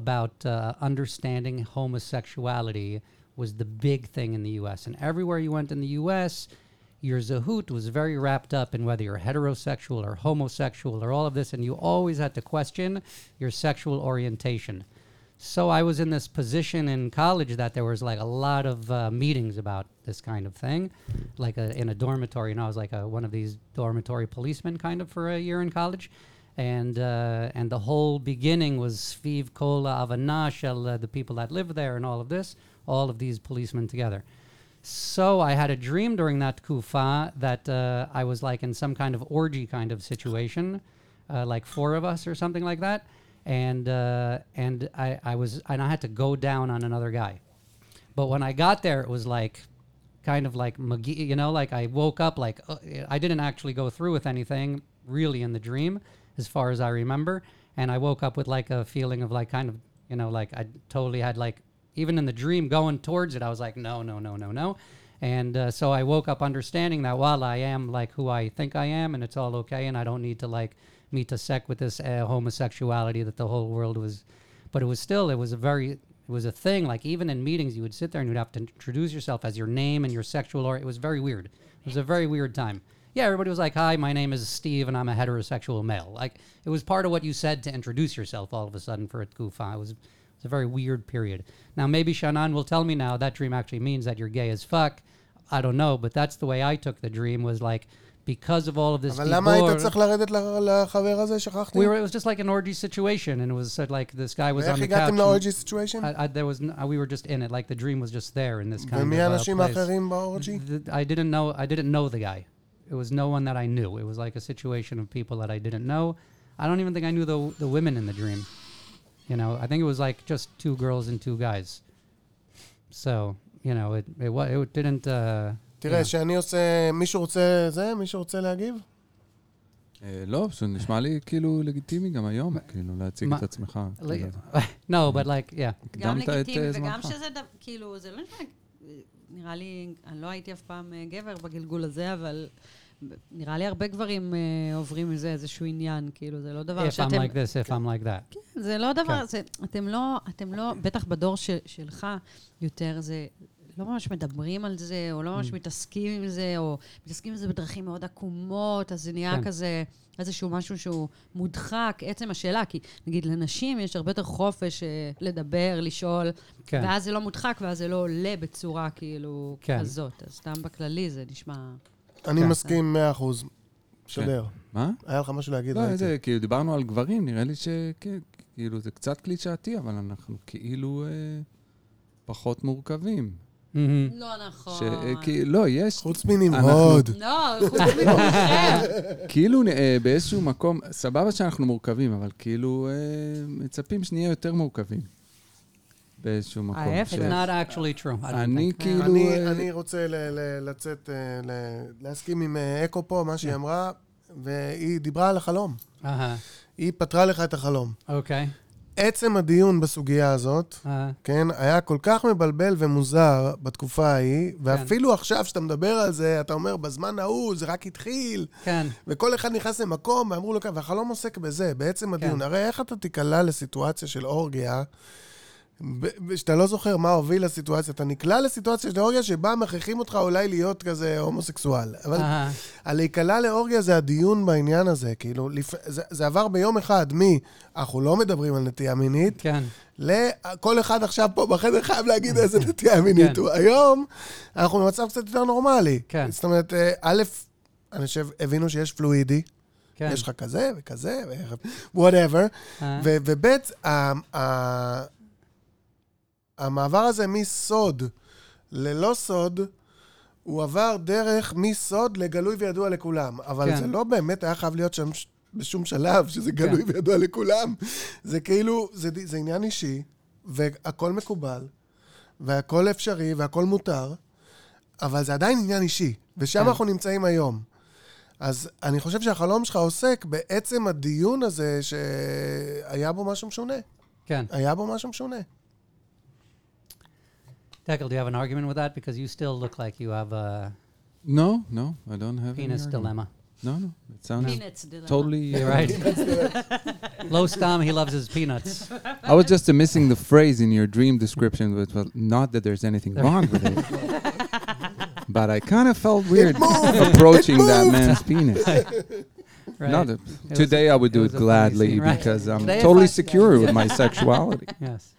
S2: about uh, understanding homosexuality was the big thing in the U.S. And everywhere you went in the U.S., your Zahoot was very wrapped up in whether you're heterosexual or homosexual or all of this, and you always had to question your sexual orientation. So I was in this position in college that there was like a lot of uh, meetings about this kind of thing, like a, in a dormitory, and I was like a, one of these dormitory policemen kind of for a year in college. And uh, and the whole beginning was Sviv Kola Avanash, uh, the people that live there, and all of this, all of these policemen together. So I had a dream during that kufa that uh, I was like in some kind of orgy kind of situation, uh, like four of us or something like that, and uh, and I, I was and I had to go down on another guy, but when I got there, it was like kind of like McGee, you know, like I woke up like uh, I didn't actually go through with anything really in the dream, as far as I remember, and I woke up with like a feeling of like kind of you know like I totally had like even in the dream going towards it, I was like, no, no, no, no, no. And uh, so I woke up understanding that while I am like who I think I am and it's all okay and I don't need to like meet to sec with this uh, homosexuality that the whole world was, but it was still, it was a very, it was a thing. Like even in meetings, you would sit there and you'd have to introduce yourself as your name and your sexual or it was very weird. It was a very weird time. Yeah, everybody was like, "Hi, my name is Steve, and I'm a heterosexual male." Like it was part of what you said to introduce yourself. All of a sudden, for a goofa, it was it was a very weird period. Now maybe Shannon will tell me now that dream actually means that you're gay as fuck. I don't know, but that's the way I took the dream was like because of all of this.
S4: אבל למה היית
S2: דיבור-
S4: צריך לרדת ל- לחבר הזה? שכחתי.
S2: we were it was just like an orgy situation, and it was said like this guy was on
S4: ואיך
S2: the couch.
S4: הגעתם
S2: and
S4: לאורג'י סיטואשן?
S2: I, I, there was n-
S3: uh,
S2: we were just in it like the dream was just there in this kind
S4: ומי
S2: of uh,
S4: האנשים
S2: place. Mm-hmm.
S4: האחרים באורג'י?
S2: Th- I didn't know. I didn't know the guy. It was no one that I knew. It was like a situation of people that I didn't know. I don't even think I knew the the women in the dream. You know, I think it was like just two girls and two guys. So you know, it it wa- it didn't. Uh, you know.
S4: תראה, שאני עושה... מישהו רוצה זה? מישהו רוצה להגיב?
S5: אה, לא, זה נשמע לי כאילו לגיטימי גם היום, כאילו להציג
S2: מה-
S5: את עצמך.
S2: Like-
S5: כאילו,
S2: no, but like yeah,
S6: גם
S5: הקדמת את
S6: לגיטימי
S5: אה,
S6: וגם
S5: זמנך.
S6: שזה, ד- כאילו, זה לא נשמע, נראה לי, אני לא הייתי אף פעם אה, גבר בגלגול הזה, אבל נראה לי הרבה גברים אה, עוברים מזה איזשהו עניין, כאילו, זה לא דבר
S2: if I'm
S6: שאתם...
S2: like this, if I'm like that.
S6: זה לא דבר,
S2: כן.
S6: זה, אתם לא, אתם לא, בטח בדור של, שלך יותר, זה לא ממש מדברים על זה, או לא ממש
S2: Mm.
S6: מתעסקים עם זה, או מתעסקים עם זה בדרכים מאוד עקומות, אז זה נהיה
S2: כן.
S6: כזה איזשהו משהו שהוא מודחק, עצם השאלה, כי נגיד לנשים יש הרבה יותר חופש אה, לדבר, לשאול,
S2: כן.
S6: ואז זה לא מודחק, ואז זה לא עולה בצורה כאילו
S2: כן.
S6: כזאת. אז סתם בכללי זה נשמע...
S4: אני
S2: כן.
S4: מסכים 100%. שדר.
S5: מה?
S4: היה לך משהו להגיד?
S5: לא,
S4: ראיתי.
S5: זה, כאילו, דיברנו על גברים, נראה לי שכן, כאילו, זה קצת קלישאתי, אבל אנחנו כאילו אה, פחות מורכבים.
S2: hmm
S6: לא נכון.
S5: שכאילו, לא, יש,
S4: חוץ מנמרוד.
S6: לא, חוץ מכולכם.
S5: כאילו אה, באיזשהו מקום, סבבה שאנחנו מורכבים, אבל כאילו אה, מצפים שנהיה יותר מורכבים. באיזשהו מקום.
S6: ההפך.
S5: ש-
S2: It's not actually true. I don't
S5: אני
S2: think.
S5: כאילו...
S4: אני,
S5: אה,
S4: אני רוצה ל, ל, לצאת, אה, ל, להסכים עם אה, אקו פה, מה שהיא
S5: כן.
S4: אמרה, והיא דיברה על החלום.
S2: Uh
S4: היא פתרה לך את החלום.
S2: huh. Okay.
S4: עצם הדיון בסוגיה הזאת,
S2: Uh,
S4: כן, היה כל כך מבלבל ומוזר בתקופה ההיא,
S5: כן.
S4: ואפילו עכשיו שאתה מדבר על זה, אתה אומר, בזמן ההוא זה רק התחיל,
S2: Ken.
S4: וכל אחד נכנס למקום, ואמרו "כן, לו ככה, והחלום עוסק בזה, בעצם הדיון.
S2: כן.
S4: הרי איך אתה תיקלע לסיטואציה של אורגיה, ב- ב- שאתה לא זוכר מה הוביל לסיטואציה. אתה נקלע לסיטואציה של אורגיה שבה מכריחים אותך אולי להיות כזה הומוסקסואל. אבל
S3: אהה.
S4: הלהיקלע לאורגיה זה הדיון בעניין הזה. כאילו, לפ... זה, זה עבר ביום אחד מ... אנחנו לא מדברים על נטייה מינית,
S3: כן.
S4: לכל אחד עכשיו פה בחדר חייב
S3: *laughs*
S4: להגיד איזה נטייה מינית
S3: כן.
S4: הוא. היום אנחנו במצב קצת יותר נורמלי.
S3: כן.
S4: זאת אומרת, אה, א', אני חושב, הבינו שיש פלואידי.
S3: כן.
S4: יש לך כזה וכזה, וואטאבר.
S3: אה.
S4: וב', ה- ה- המעבר הזה מסוד ללא סוד, הוא עבר דרך מסוד לגלוי וידוע לכולם. אבל
S3: כן.
S4: זה לא באמת היה חייב להיות שם ש- בשום שלב, שזה גלוי
S5: כן.
S4: וידוע לכולם. זה כאילו, זה ד- זה עניין אישי, והכל מקובל, והכל אפשרי, והכל מותר, אבל זה עדיין עניין אישי, ושם
S3: כן.
S4: אנחנו נמצאים היום. אז אני חושב שהחלום שלך עוסק בעצם הדיון הזה שהיה בו משהו משונה.
S3: כן.
S4: היה בו משהו משונה.
S3: Deckel, do you have an argument with that? Because you still look like you have a
S5: No, no, I don't have any
S3: penis
S5: argument. *laughs*
S3: dilemma.
S5: No, no, it sounds
S6: Peanuts dilemma.
S5: totally... uh, *laughs*
S3: You're right. *laughs* Low stom, Um, he loves his peanuts.
S5: I was just uh, missing the phrase in your dream description, but well, not that there's anything wrong with it. But I kind of felt weird approaching that man's penis.
S3: *laughs* Right.
S5: Not that-
S3: was
S5: today,
S3: a-
S5: I would do it,
S3: it was a funny
S5: gladly
S3: scene, right.
S5: because I'm
S3: Today if I-
S5: totally secure with my
S3: *laughs*
S5: sexuality.
S3: Yes.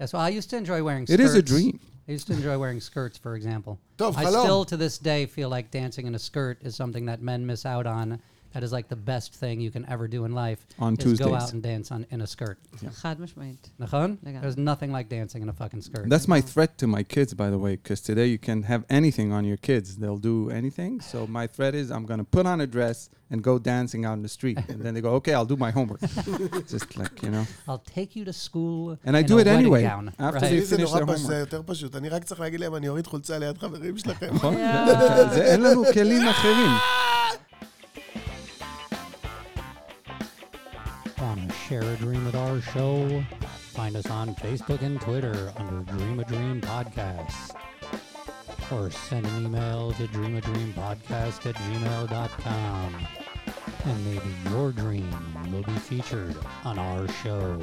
S3: Yes. Well, I used to enjoy wearing.
S5: It
S3: skirts.
S5: is a dream.
S3: I used to enjoy wearing skirts, for example.
S4: Tov,
S3: I
S4: hello.
S3: still, to this day, feel like dancing in a skirt is something that men miss out on. That is like the best thing you can ever do in life.
S5: On
S3: is go
S5: Tuesdays.
S3: out and dance on in a skirt.
S6: חד משמעית.
S3: Nachon?
S6: Legal.
S3: There's nothing like dancing in a fucking skirt.
S5: That's my threat to my kids, by the way, because today you can have anything on your kids. They'll do anything. So my threat is I'm going to put on a dress and go dancing out in the street. And then they go, okay, I'll do my homework. *laughs* Just like, you know.
S3: I'll take you to school.
S5: And I
S3: in
S5: do
S3: a
S5: it
S3: wedding
S5: anyway,
S3: Gown.
S5: after
S3: right.
S5: they-
S4: לי זה
S5: finish
S4: נורא
S5: their
S4: פשוט, זה
S5: homework.
S4: יותר פשוט. אני רק צריך להגיד להם, אני אוריד חולצה ליד חברים שלכם.
S5: נכון?
S3: אה.
S5: זה- זה- אין לנו כלים אחרים.
S3: Want to share a dream with our show? Find us on Facebook and Twitter under Dream a Dream Podcast. Or send an email to dreamadreampodcast at gmail.com. And maybe your dream will be featured on our show.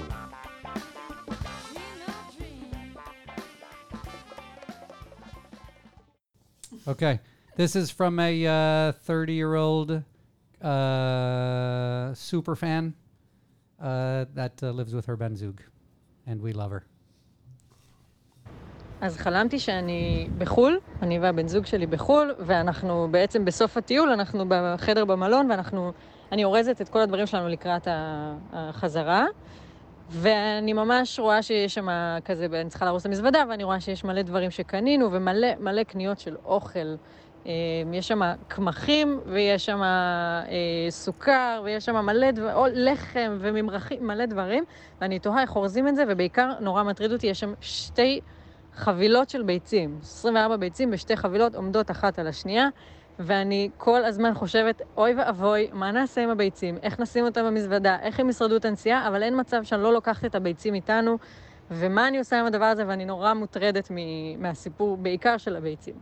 S3: Okay. This is from a uh, 30 year old uh, super fan uh, that uh, lives with her Benzug. And we love her.
S8: אז חלמתי שאני בחו"ל, אני והבן זוג שלי בחו"ל, ואנחנו בעצם בסוף הטיול, אנחנו בחדר במלון, ואנחנו... אני אורזת את כל הדברים שלנו לקראת ה- החזרה, ואני ממש רואה שיש שם כזה, אני צריכה לארוז את המזוודה, ואני רואה שיש מלא דברים שקנינו, ומלא מלא קניות של אוכל. אה, יש שם קמחים, ויש שם אה, סוכר, ויש שם מלא דברים, או לחם וממרחים, מלא דברים, ואני תוהה איך אורזים את זה, ובעיקר נורא מטריד אותי, יש שם שתי חבילות של ביצים. 24 ביצים בשתי חבילות עומדות אחת על השנייה, ואני כל הזמן חושבת, אוי ואבוי, מה נעשה עם הביצים? איך נשים אותם במזוודה? איך הם ישרדו את הנסיעה? אבל אין מצב שאני לא לוקחת את הביצים איתנו, ומה אני עושה עם הדבר הזה? ואני נורא מוטרדת מ- מהסיפור, בעיקר של הביצים.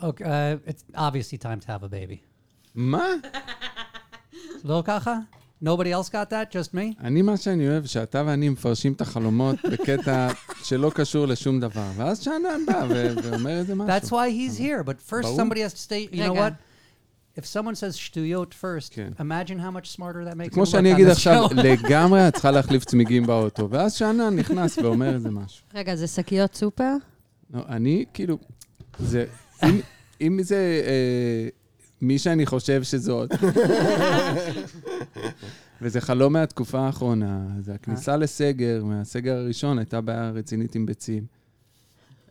S3: Okay, uh, it's obviously time to have a baby.
S5: מה?
S3: Lo caja? Nobody else got that? Just me?
S5: אני, מה שאני אוהב, שאתה ואני מפרשים את החלומות בקטע שלא קשור לשום דבר. ואז שאנן בא ו- ואומר איזה
S3: That's
S5: משהו.
S3: why he's here. But first,
S5: Baum?
S3: somebody has to stay. You know
S6: Rega.
S3: what? If someone says shtuyot first,
S5: Okay.
S3: imagine how much smarter that makes.
S5: כמו
S3: him look
S5: שאני
S3: on
S5: אגיד
S3: this
S5: עכשיו,
S3: *laughs* show.
S5: לגמרי את צריכה להחליף צמיגים באוטו. ואז שאנן נכנס ואומר איזה משהו.
S6: רגע, זה שקיות סופר?
S5: לא, אני, כאילו, זה, אם, אם זה אה, מי שאני חושב
S4: *laughs*
S5: שזאת, וזה חלום מהתקופה האחרונה, זה
S4: אה.
S5: הכניסה לסגר, מהסגר הראשון, הייתה בעיה רצינית עם ביצים.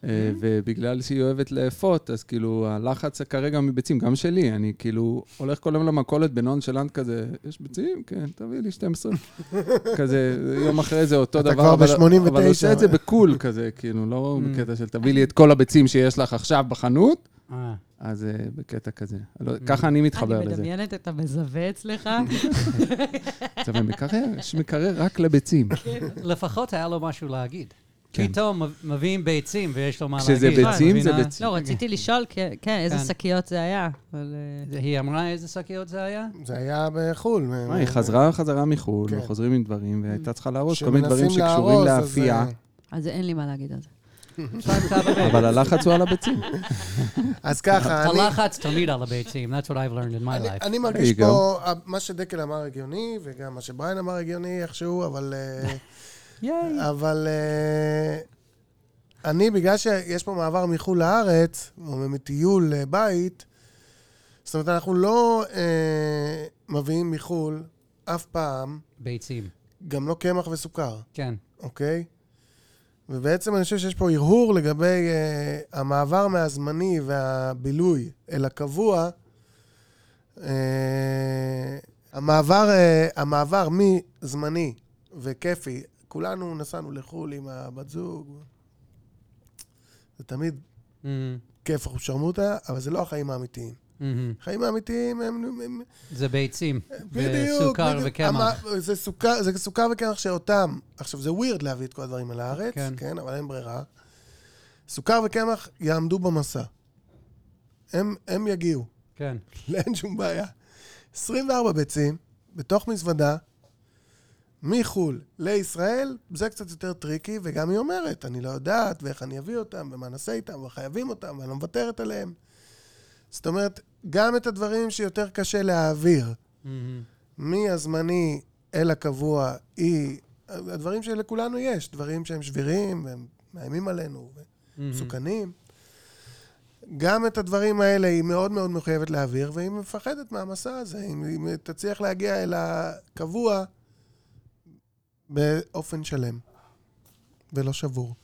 S5: אה, ובגלל שהיא אוהבת לאפות, אז כאילו, הלחץ כרגע מביצים, גם שלי, אני כאילו הולך כל היום למכולת בנונשלנט כזה, יש ביצים? כן, תביא לי
S4: *laughs*
S5: 12. כזה, יום אחרי זה אותו
S4: אתה
S5: דבר.
S4: כבר
S5: אבל-
S4: ב-
S5: אבל עושה את זה
S4: 89.
S5: בקול כזה, כאילו,
S4: *laughs*
S5: לא בקטע של
S4: Mm.
S5: תביא לי את כל הביצים שיש לך עכשיו בחנות,
S3: אה,
S5: אז אה, בקטע כזה. לא, ככה אני מתחבר
S6: אני
S5: לזה.
S6: מדמיינת את
S3: *laughs*
S6: המזווה אצלך. לא,
S5: זה מקרר, יש מקרר רק לביצים.
S4: *laughs* כן.
S3: לפחות היה לו משהו להגיד.
S5: כן.
S3: פתאום מב- מביאים ביצים ויש לו מה להגיד.
S5: כשזה ביצים,
S3: את
S5: זה
S3: מבינה?
S5: ביצים.
S6: לא, רציתי לשאול, כן, כן, איזה
S3: כן.
S6: שקיות זה היה, אבל... אה,
S3: היא אמרה איזה שקיות
S5: *laughs*
S3: זה היה?
S4: זה היה בחו"ל.
S5: מה, היא חזרה חזרה מחו"ל,
S4: כן.
S5: וחוזרים עם דברים, והייתה צריכה להרוס כל מיני
S4: כשמנסים
S5: דברים שקשורים
S4: להרוס, אז, אה,
S5: לאפייה,
S6: אז אין לי מה להגיד על זה.
S3: שתיים
S5: *laughs*
S3: כמה
S5: אבל הלחץ הוא על הביצים.
S4: אז ככה, אני...
S3: הלחץ תמיד על הביצים, that's what I've learned in my
S4: אני,
S3: life.
S4: אני מרגיש
S5: you go.
S4: פה, אה, מה שדקל אמר הגיוני, וגם מה שבריין אמר הגיוני איכשהו, אבל... אה, אבל אה, אני, בגלל שיש פה מעבר מחו"ל לארץ, או מטיול אה, בית, זאת אומרת, אנחנו לא אה, מביאים מחו"ל אף פעם,
S3: ביצים,
S4: גם לא קמח וסוכר,
S3: כן.
S4: אוקיי? ובעצם אני חושב שיש פה הרהור לגבי אה, המעבר מהזמני והבילוי אל הקבוע. אה, המעבר, אה, המעבר מזמני וכיפי, כולנו נסענו לחו"ל עם הבת זוג, זה תמיד
S3: Mm,
S5: Mm-hmm.
S4: כיף ושרמוטה, אבל זה לא החיים האמיתיים.
S3: mhm.
S4: החיים האמיתיים הם... הם
S3: זה ביצים,
S4: בדיוק.
S3: וסוכר
S4: בדיוק.
S3: וקמח.
S4: המ- זה סוכר, זה סוכר וקמח שאותם, עכשיו זה ווירד להביא את כל הדברים אל הארץ,
S3: כן.
S4: כן. כן, אבל אין ברירה. סוכר וקמח יעמדו במסע. הם, הם יגיעו,
S3: כן.
S4: *laughs* אין שום בעיה. 24 ביצים, בתוך מזוודה, מחו"ל לישראל, זה קצת יותר טריקי, וגם היא אומרת, אני לא יודעת, ואיך אני אביא אותם, ומה נעשה איתם, וחייבים אותם, ואני לא מוותרת עליהם. זאת אומרת, גם את הדברים שיותר קשה להעביר,
S3: mhm.
S4: מהזמני אל הקבוע היא, הדברים שלכולנו יש, דברים שהם שבירים והם מאיימים עלינו ומסוכנים. גם את הדברים האלה היא מאוד מאוד מחויבת להעביר, והיא מפחדת מהמסע הזה. אם היא תצליח להגיע אל הקבוע באופן שלם ולא שבור.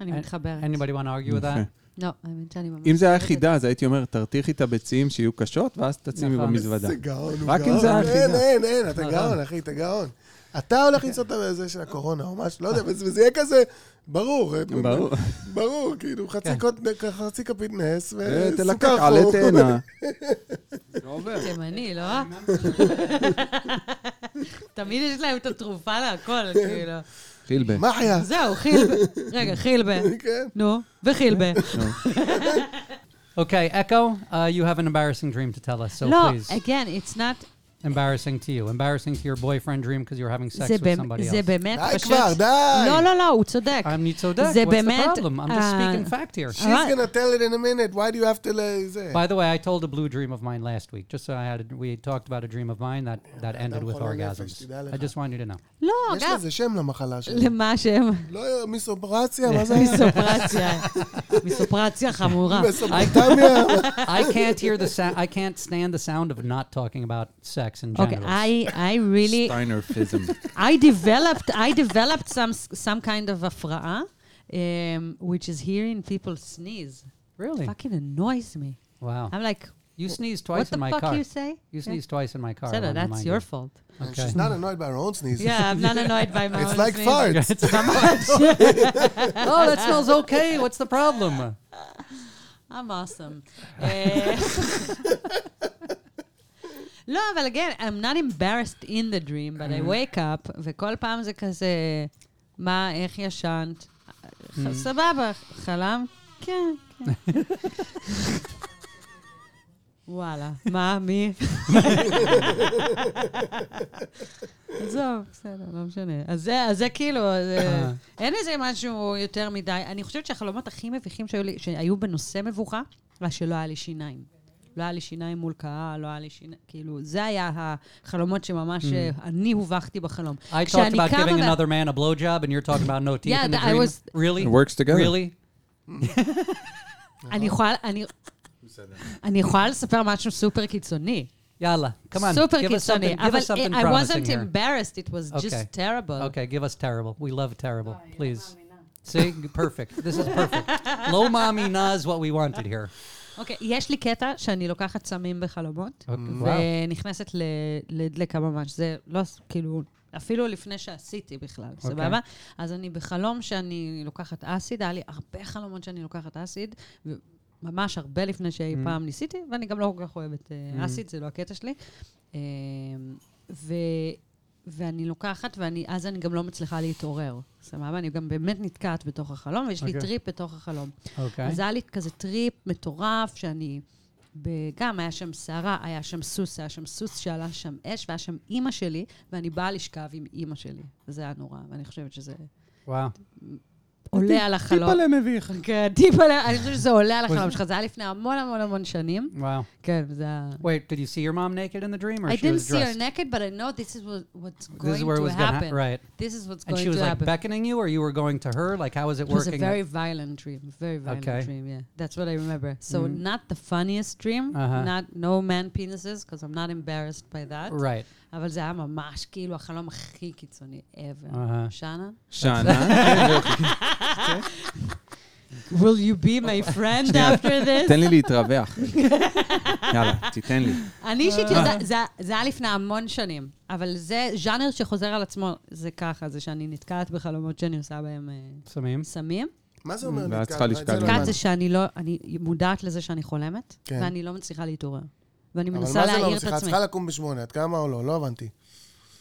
S6: אני
S3: אין-
S6: מתחברת.
S3: Anybody want to argue
S5: *laughs*
S3: with that?
S6: לא, האמת שאני ממש...
S5: אם זה היה
S6: מתחברת.
S5: חידה, אז הייתי אומר, תרתיחי את הביצים שיהיו קשות, ואז תשימי
S3: נכון.
S5: במזוודה.
S4: זה גאון, הוא
S5: רק אם
S4: גאון.
S5: זה אה. היה
S4: אין,
S5: חידה.
S4: אין, אין, אתה
S3: נכון.
S4: גאון, אחי, אתה גאון. אתה הולך למצוא את הזה של הקורונה, או משהו, לא יודע, וזה וזה יהיה כזה, ברור.
S5: ברור.
S4: ברור, כאילו, חצי
S3: כן.
S4: קוט- חצי כפית נס,
S5: אה, תלקק
S4: וסוכר
S5: עלה
S4: אה, חום.
S5: תאנה.
S4: *laughs*
S6: תימני, לא? *laughs* תמיד יש להם את התרופה להכל, כאילו.
S5: חילבה.
S4: מחיה.
S6: זהו, חילבה. רגע, חילבה.
S4: כן.
S6: נו, וחילבה.
S3: Okay, Echo, uh, you have an embarrassing dream to tell us, so
S6: לא,
S3: please.
S6: again, it's not...
S3: Embarrassing to you. Embarrassing to your boyfriend dream because you're having sex
S6: זה,
S3: with
S6: באמת-
S3: somebody
S6: זה
S3: else.
S6: באמת
S4: די
S6: פשוט...
S4: כבר, די.
S6: לא, לא, לא, הוא צודק.
S3: אני צודק,
S6: זה
S3: what's
S6: באמת,
S3: the problem? I'm just
S6: אה,
S3: speaking fact here.
S4: She's gonna tell it in a minute, why do you have to ל- זה?
S6: Oh,
S3: By the way, I told a blue dream of mine last week. Just so I had, we had talked about a dream of mine that, that ended with
S4: חולה נפש,
S3: orgasms.
S4: תדע לך.
S3: I just want you to know.
S6: לא,
S4: יש
S6: גם...
S4: לזה שם למחלה שלי.
S6: למה שהם...
S4: לא, מיסופרציה, מה
S6: *laughs*
S4: זה?
S3: *laughs*
S6: מיסופרציה. מיסופרציה חמורה. *laughs*
S4: מיסופרטמיה?
S3: I can't hear the sound. I can't stand the sound of not talking about sex in
S6: Okay,
S3: general.
S6: I I really
S5: טיינר פיזם.
S4: *laughs*
S6: I developed I developed some some kind of הפרעה, um, which is hearing people sneeze.
S3: really?
S6: fucking annoys me.
S3: Wow.
S6: I'm like,
S3: you sneezed
S6: what
S3: twice
S6: the
S3: in my
S6: fuck
S3: car.
S6: you say?
S3: You
S6: Yeah.
S3: sneezed twice in my car. I
S6: Sarah,
S3: wanna
S6: that's
S3: remind
S6: your
S3: you.
S6: fault.
S3: Okay.
S4: She's not annoyed by her own sneezes.
S6: Yeah, I'm not annoyed by my
S4: It's
S6: own
S4: like
S6: sneeze. *laughs*
S4: farts.
S3: It's not much. oh, that smells okay. What's the problem?
S6: I'm awesome. Eh. *laughs* אה, לא, אבל again, I'm not embarrassed in the dream, but I wake up, וכל פעם זה כזה, מה, איך ישנת? סבבה, חלם? כן, כן. וואלה, מה, מי? עזוב, בסדר, לא משנה. אז זה, אז זה כאילו, זה, אין איזה משהו יותר מדי. אני חושבת שהחלומות הכי מביכים שהיו, לי, שהיו בנושא מבוכה, היה שלא היה לי שיניים. לא היה לי שיניים מול קהל, לא היה לי שיניים, כאילו, זה היה החלומות שממש אה, אני הובכתי בחלום.
S3: I talked
S6: כשאני
S3: about
S6: קמה
S3: giving
S6: מה-
S3: another man a blowjob, and you're talking about no teeth
S6: Yeah,
S3: in the
S6: th- I
S3: dream.
S6: was-
S3: really?
S5: It works together.
S3: Really?
S6: אני יכולה, אני... אני יכולה לספר משהו סופר קיצוני.
S3: Yalla, come on.
S6: סופר
S3: give us
S6: קיצוני.
S3: something. Give
S6: אבל
S3: us something
S6: eh, I
S3: promising
S6: wasn't
S3: here.
S6: embarrassed, it was
S3: Okay.
S6: just terrible.
S3: Okay, give us terrible. We love terrible,
S6: Oh,
S3: please. *laughs* See, perfect. This is perfect. Low mommy na is what we wanted here.
S6: אוקיי, יש לי קטע שאני לוקחת סמים בחלומות,
S3: אוקיי,
S6: ונכנסת ל- לדלקה ממש. זה לא, ס- כאילו, אפילו לפני שעשיתי בכלל, סבבה? אז אני בחלום שאני לוקחת אסיד, היה לי הרבה חלומות שאני לוקחת אסיד, ו- ממש הרבה לפני שאי פעם ניסיתי, ואני גם לא כל כך אוהבת אה, אסיד, זה לא הקטע שלי. אה, ו... ואני לוקחת, ואז אני גם לא מצליחה להתעורר. סבבה? אני גם באמת נתקעת בתוך החלום, ויש לי
S3: אוקיי.
S6: טריפ בתוך החלום.
S3: אוקיי.
S6: אז היה לי כזה טריפ מטורף, שאני... ב- גם היה שם סערה, היה שם סוס, היה שם סוס שעלה שם אש, והיה שם אימא שלי, ואני באה לשכב עם אימא שלי. זה היה נורא, ואני חושבת שזה
S3: וואו.
S6: עולה על החלום.
S5: טיפה למביך.
S6: כן, טיפ עליה, אני חושבת שזה
S3: *laughs*
S6: עולה על החלום שלך, זה היה לפני המון המון המון שנים.
S3: Wow.
S6: כן, זה היה...
S3: Wait, did you see your mom naked in the dream, or
S6: I
S3: she
S6: didn't
S3: was
S6: see her
S3: dressed?
S6: naked, but I know this is what, what's going
S3: this is where it
S6: to
S3: was
S6: happen.
S3: gonna ha- right.
S6: This is what's
S3: And
S6: going
S3: she was
S6: to
S3: like
S6: happen.
S3: beckoning you, or you were going to her. Like, how was it
S6: It was a
S3: working?
S6: very violent dream, very violent
S3: Okay. Mm.
S6: dream. Yeah, that's what I remember. So not the funniest dream,
S3: Uh-huh.
S6: not no man penises, because I'm not embarrassed by that.
S3: *laughs* right.
S6: אבל זה היה ממש כאילו החלום הכי קיצוני ever.
S3: Uh-huh.
S6: שנה?
S5: שנה.
S4: אה, כן.
S6: Will you be my friend after this?
S5: תן לי להתרווח. יאללה, תיתן לי.
S6: אני אישית
S3: Uh-huh.
S6: יודעת, זה- זה היה לפני המון שנים, אבל זה ז'אנר שחוזר על עצמו, זה ככה, זה שאני נתקעת בחלומות שאני עושה בהם אה,
S3: Samim.
S6: סמים.
S4: מה זה אומר
S5: ואת
S4: נתקעת?
S5: צריכה
S4: את זה
S5: לשכב.
S4: לא
S5: נתקעת
S6: נתקעת
S4: הבנתי.
S6: זה שאני לא, אני מודעת לזה שאני חולמת,
S4: כן.
S6: ואני לא מצליחה להתעורר. ואני
S4: אבל
S6: מנסה
S4: מה זה לא
S6: להעיר את
S4: מצליחה? את
S6: עצמי.
S4: צריכה לקום בשמונה, את קמה או לא? לא הבנתי.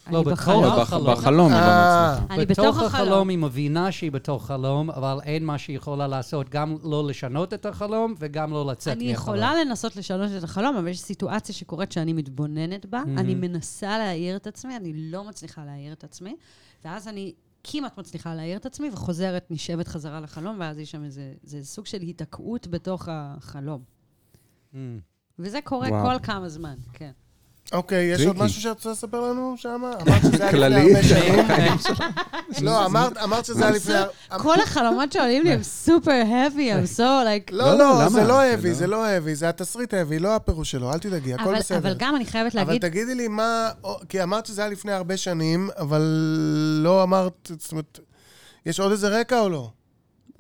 S6: אני
S3: לא,
S6: בחלום.
S3: בחלום.
S5: לא, בח- בחלום היא לא
S4: אה.
S5: מצליחה.
S6: אני בתוך החלום.
S3: היא מבינה שהיא בתוך חלום, אבל אין מה שהיא יכולה לעשות, גם לא לשנות את החלום וגם לא לצאת
S6: אני
S3: מהחלום.
S6: יכולה לנסות לשנות את החלום, אבל יש סיטואציה שקורית שאני מתבוננת בה, אני מנסה להעיר את עצמי, אני לא מצליחה להעיר את עצמי, ואז אני כמעט מצליחה להעיר את עצמי, וחוזרת, נשאבת חזרה לחלום, ואז יש שם איזה זה סוג של היתקעות בתוך החלום. וזה קורה
S5: וואו.
S6: כל כמה זמן, כן.
S4: אוקיי, יש עוד
S5: טריקי.
S4: משהו שאת רוצה לספר לנו שם? אמרת שזה היה לפני
S5: כללי.
S4: הרבה
S5: *laughs*
S4: שנים. לא, אמרת- אמרת שזה היה לפני...
S6: כל החלומות שעולים לי הם סופר heavy, I'm so like...
S4: לא,
S5: לא, לא,
S4: לא, זה
S5: למה?
S4: לא
S5: זה
S4: heavy,
S5: לא-
S4: זה לא heavy, זה התסריט heavy, לא הפירוש שלו, אל תדאגי, הכל
S6: אבל-
S4: בסדר.
S6: אבל גם אני חייבת
S4: אבל
S6: להגיד,
S4: תגידי לי מה, או- כי אמרת שזה היה לפני הרבה שנים, אבל לא אמרת, זאת אומרת, יש עוד איזה רקע או לא?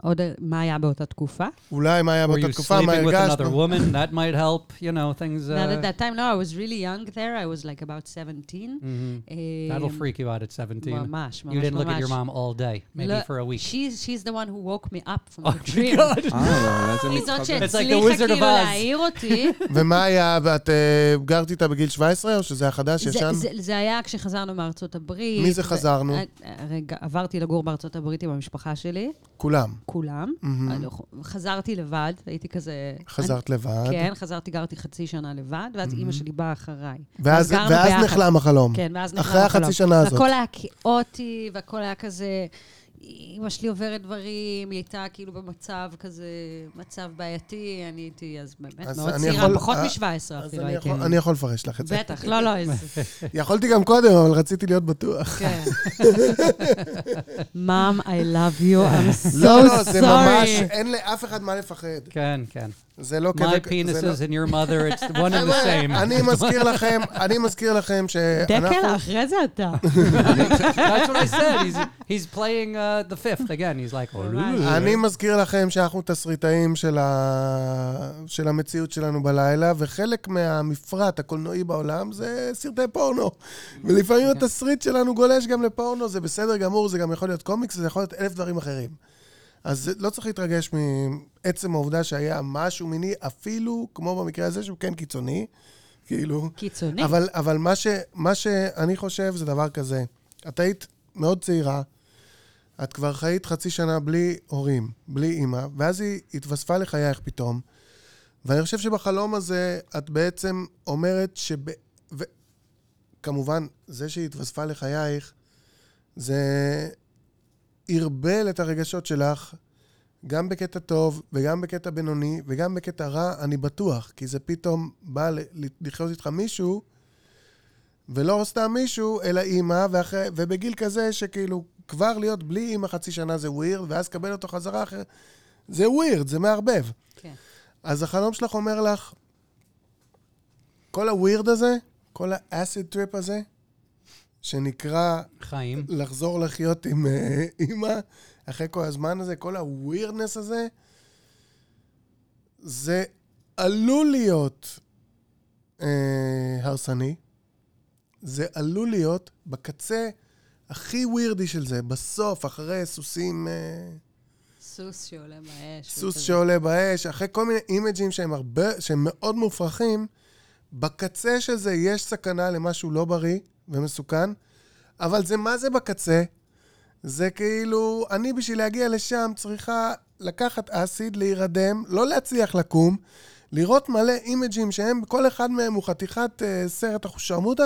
S6: עוד אה, מה היה באותה תקופה?
S4: אולי מה היה
S3: Were
S4: באותה
S3: you
S4: תקופה, מה
S3: sleeping with another
S4: הרגשנו?
S3: woman? That might help, you know, things... uh,
S6: Not at that time, no, I was really young there, I was like about 17.
S3: mhm. That'll
S6: Um,
S3: freak you out at 17.
S6: ממש,
S3: you
S6: ממש,
S3: didn't look at
S6: ממש.
S3: your mom all day, maybe
S6: לא,
S3: for a week.
S6: She's, she's the one who woke me up from
S3: *laughs* Oh,
S6: the
S3: my
S6: dream. *laughs* Oh,
S3: God.
S5: אה, אולי זה
S6: היא
S5: מתחבר.
S6: זאת
S3: It's like the
S6: שהצליחה
S3: Wizard of
S6: כאילו
S3: Oz.
S6: להעיר אותי.
S3: *laughs*
S4: *laughs* ומה היה, ואת אה, גרת איתה בגיל 17, או שזה היה חדש,
S6: זה-
S4: ישן?
S6: זה- זה היה כשחזרנו מארצות הברית.
S4: מי זה
S6: ו-
S4: חזרנו?
S6: אה, רגע, עברתי לגור בארצות הברית עם המשפחה שלי,
S4: כולם.
S6: כולם. אני לא- חזרתי לבד, הייתי כזה...
S4: Mm-hmm. חזרת לבד, Mm-hmm.
S6: אני- כן, חזרתי, גרתי חצי שנה לבד, ואז אימא שלי באה אחריי.
S4: ואז
S6: גרנו
S4: ואז
S6: ביחד.
S4: נחלם החלום.
S6: כן, ואז נחזור
S4: אחרי החצי שנה הזאת.
S6: והכל היה כאוטי, והכל היה כזה... אמא שלי עוברת דברים, היא הייתה כאילו במצב כזה, מצב בעייתי, אני הייתי אז באמת
S4: אז
S6: מאוד
S4: אני
S6: צעירה,
S4: יכול-
S6: פחות
S4: אה,
S6: מ-17
S4: אז
S6: אפילו
S4: אני
S6: הייתי.
S4: יכול- אני יכול לפרש לך את זה.
S6: בטח, לא, לא, איזה...
S4: יכולתי גם קודם, אבל רציתי להיות בטוח.
S6: כן. מם, I love you, I'm so sorry.
S4: לא, לא, זה ממש, אין לאף אחד מה לפחד.
S3: Can, can.
S4: זה לא
S3: My
S4: כזה- זה לא- אה,
S3: penises and your mother, *laughs* it's one and the same.
S4: אני מזכיר לכם, אני מזכיר לכם שאנחנו...
S6: דקל, אחרי זה אתה.
S3: That's what I said. He's, he's playing uh, the fifth again. He's like,
S4: אני מזכיר לכם שאנחנו תסריטאים של, ה... של המציאות שלנו בלילה, וחלק מהמפרט הקולנועי בעולם זה סרטי פורנו. ולפעמים התסריט שלנו גולש גם לפורנו, זה בסדר גמור, זה גם יכול להיות קומיקס, זה יכול להיות אלף דברים אחרים. אז זה- לא צריך להתרגש מעצם העובדה שהיה משהו מיני, אפילו כמו במקרה הזה, שהוא כן קיצוני, כאילו.
S6: קיצוני.
S4: אבל, אבל מה, ש, מה שאני חושב זה דבר כזה. את היית מאוד צעירה, את כבר חיית חצי שנה בלי הורים, בלי אימא, ואז היא התווספה לחייך פתאום. ואני חושב שבחלום הזה את בעצם אומרת שב... ו... כמובן, זה שהיא התווספה לחייך, זה ערבל את הרגשות שלך, גם בקטע טוב, וגם בקטע בינוני, וגם בקטע רע, אני בטוח, כי זה פתאום בא ל- לחיות איתך מישהו, ולא סתם מישהו, אלא אימא, ואחרי, ובגיל כזה שכאילו, כבר להיות בלי אימא חצי שנה זה ווירד, ואז קבל אותו חזרה אחרי... זה ווירד, זה מערבב.
S6: כן.
S4: אז החלום שלך אומר לך, כל הווירד הזה, כל האסיד טריפ הזה, שנקרא
S3: חיים.
S4: לחזור לחיות עם אה, אימא, אחרי כל הזמן הזה, כל הווירדנס הזה, זה עלול להיות אה, הרסני, זה עלול להיות בקצה הכי ווירדי של זה, בסוף, אחרי סוסים, אה,
S6: סוס שעולה מהאש.
S4: סוס
S6: וכזה.
S4: שעולה באש, אחרי כל מיני אימג'ים שהם, הרבה, שהם מאוד מופרכים, בקצה של זה יש סכנה למשהו לא בריא ומסוכן, אבל זה מה זה בקצה? זה כאילו, אני בשביל להגיע לשם צריכה לקחת אסיד, להירדם, לא להצליח לקום, לראות מלא אימג'ים שהם, כל אחד מהם הוא חתיכת אה, סרט אחושרמוטה,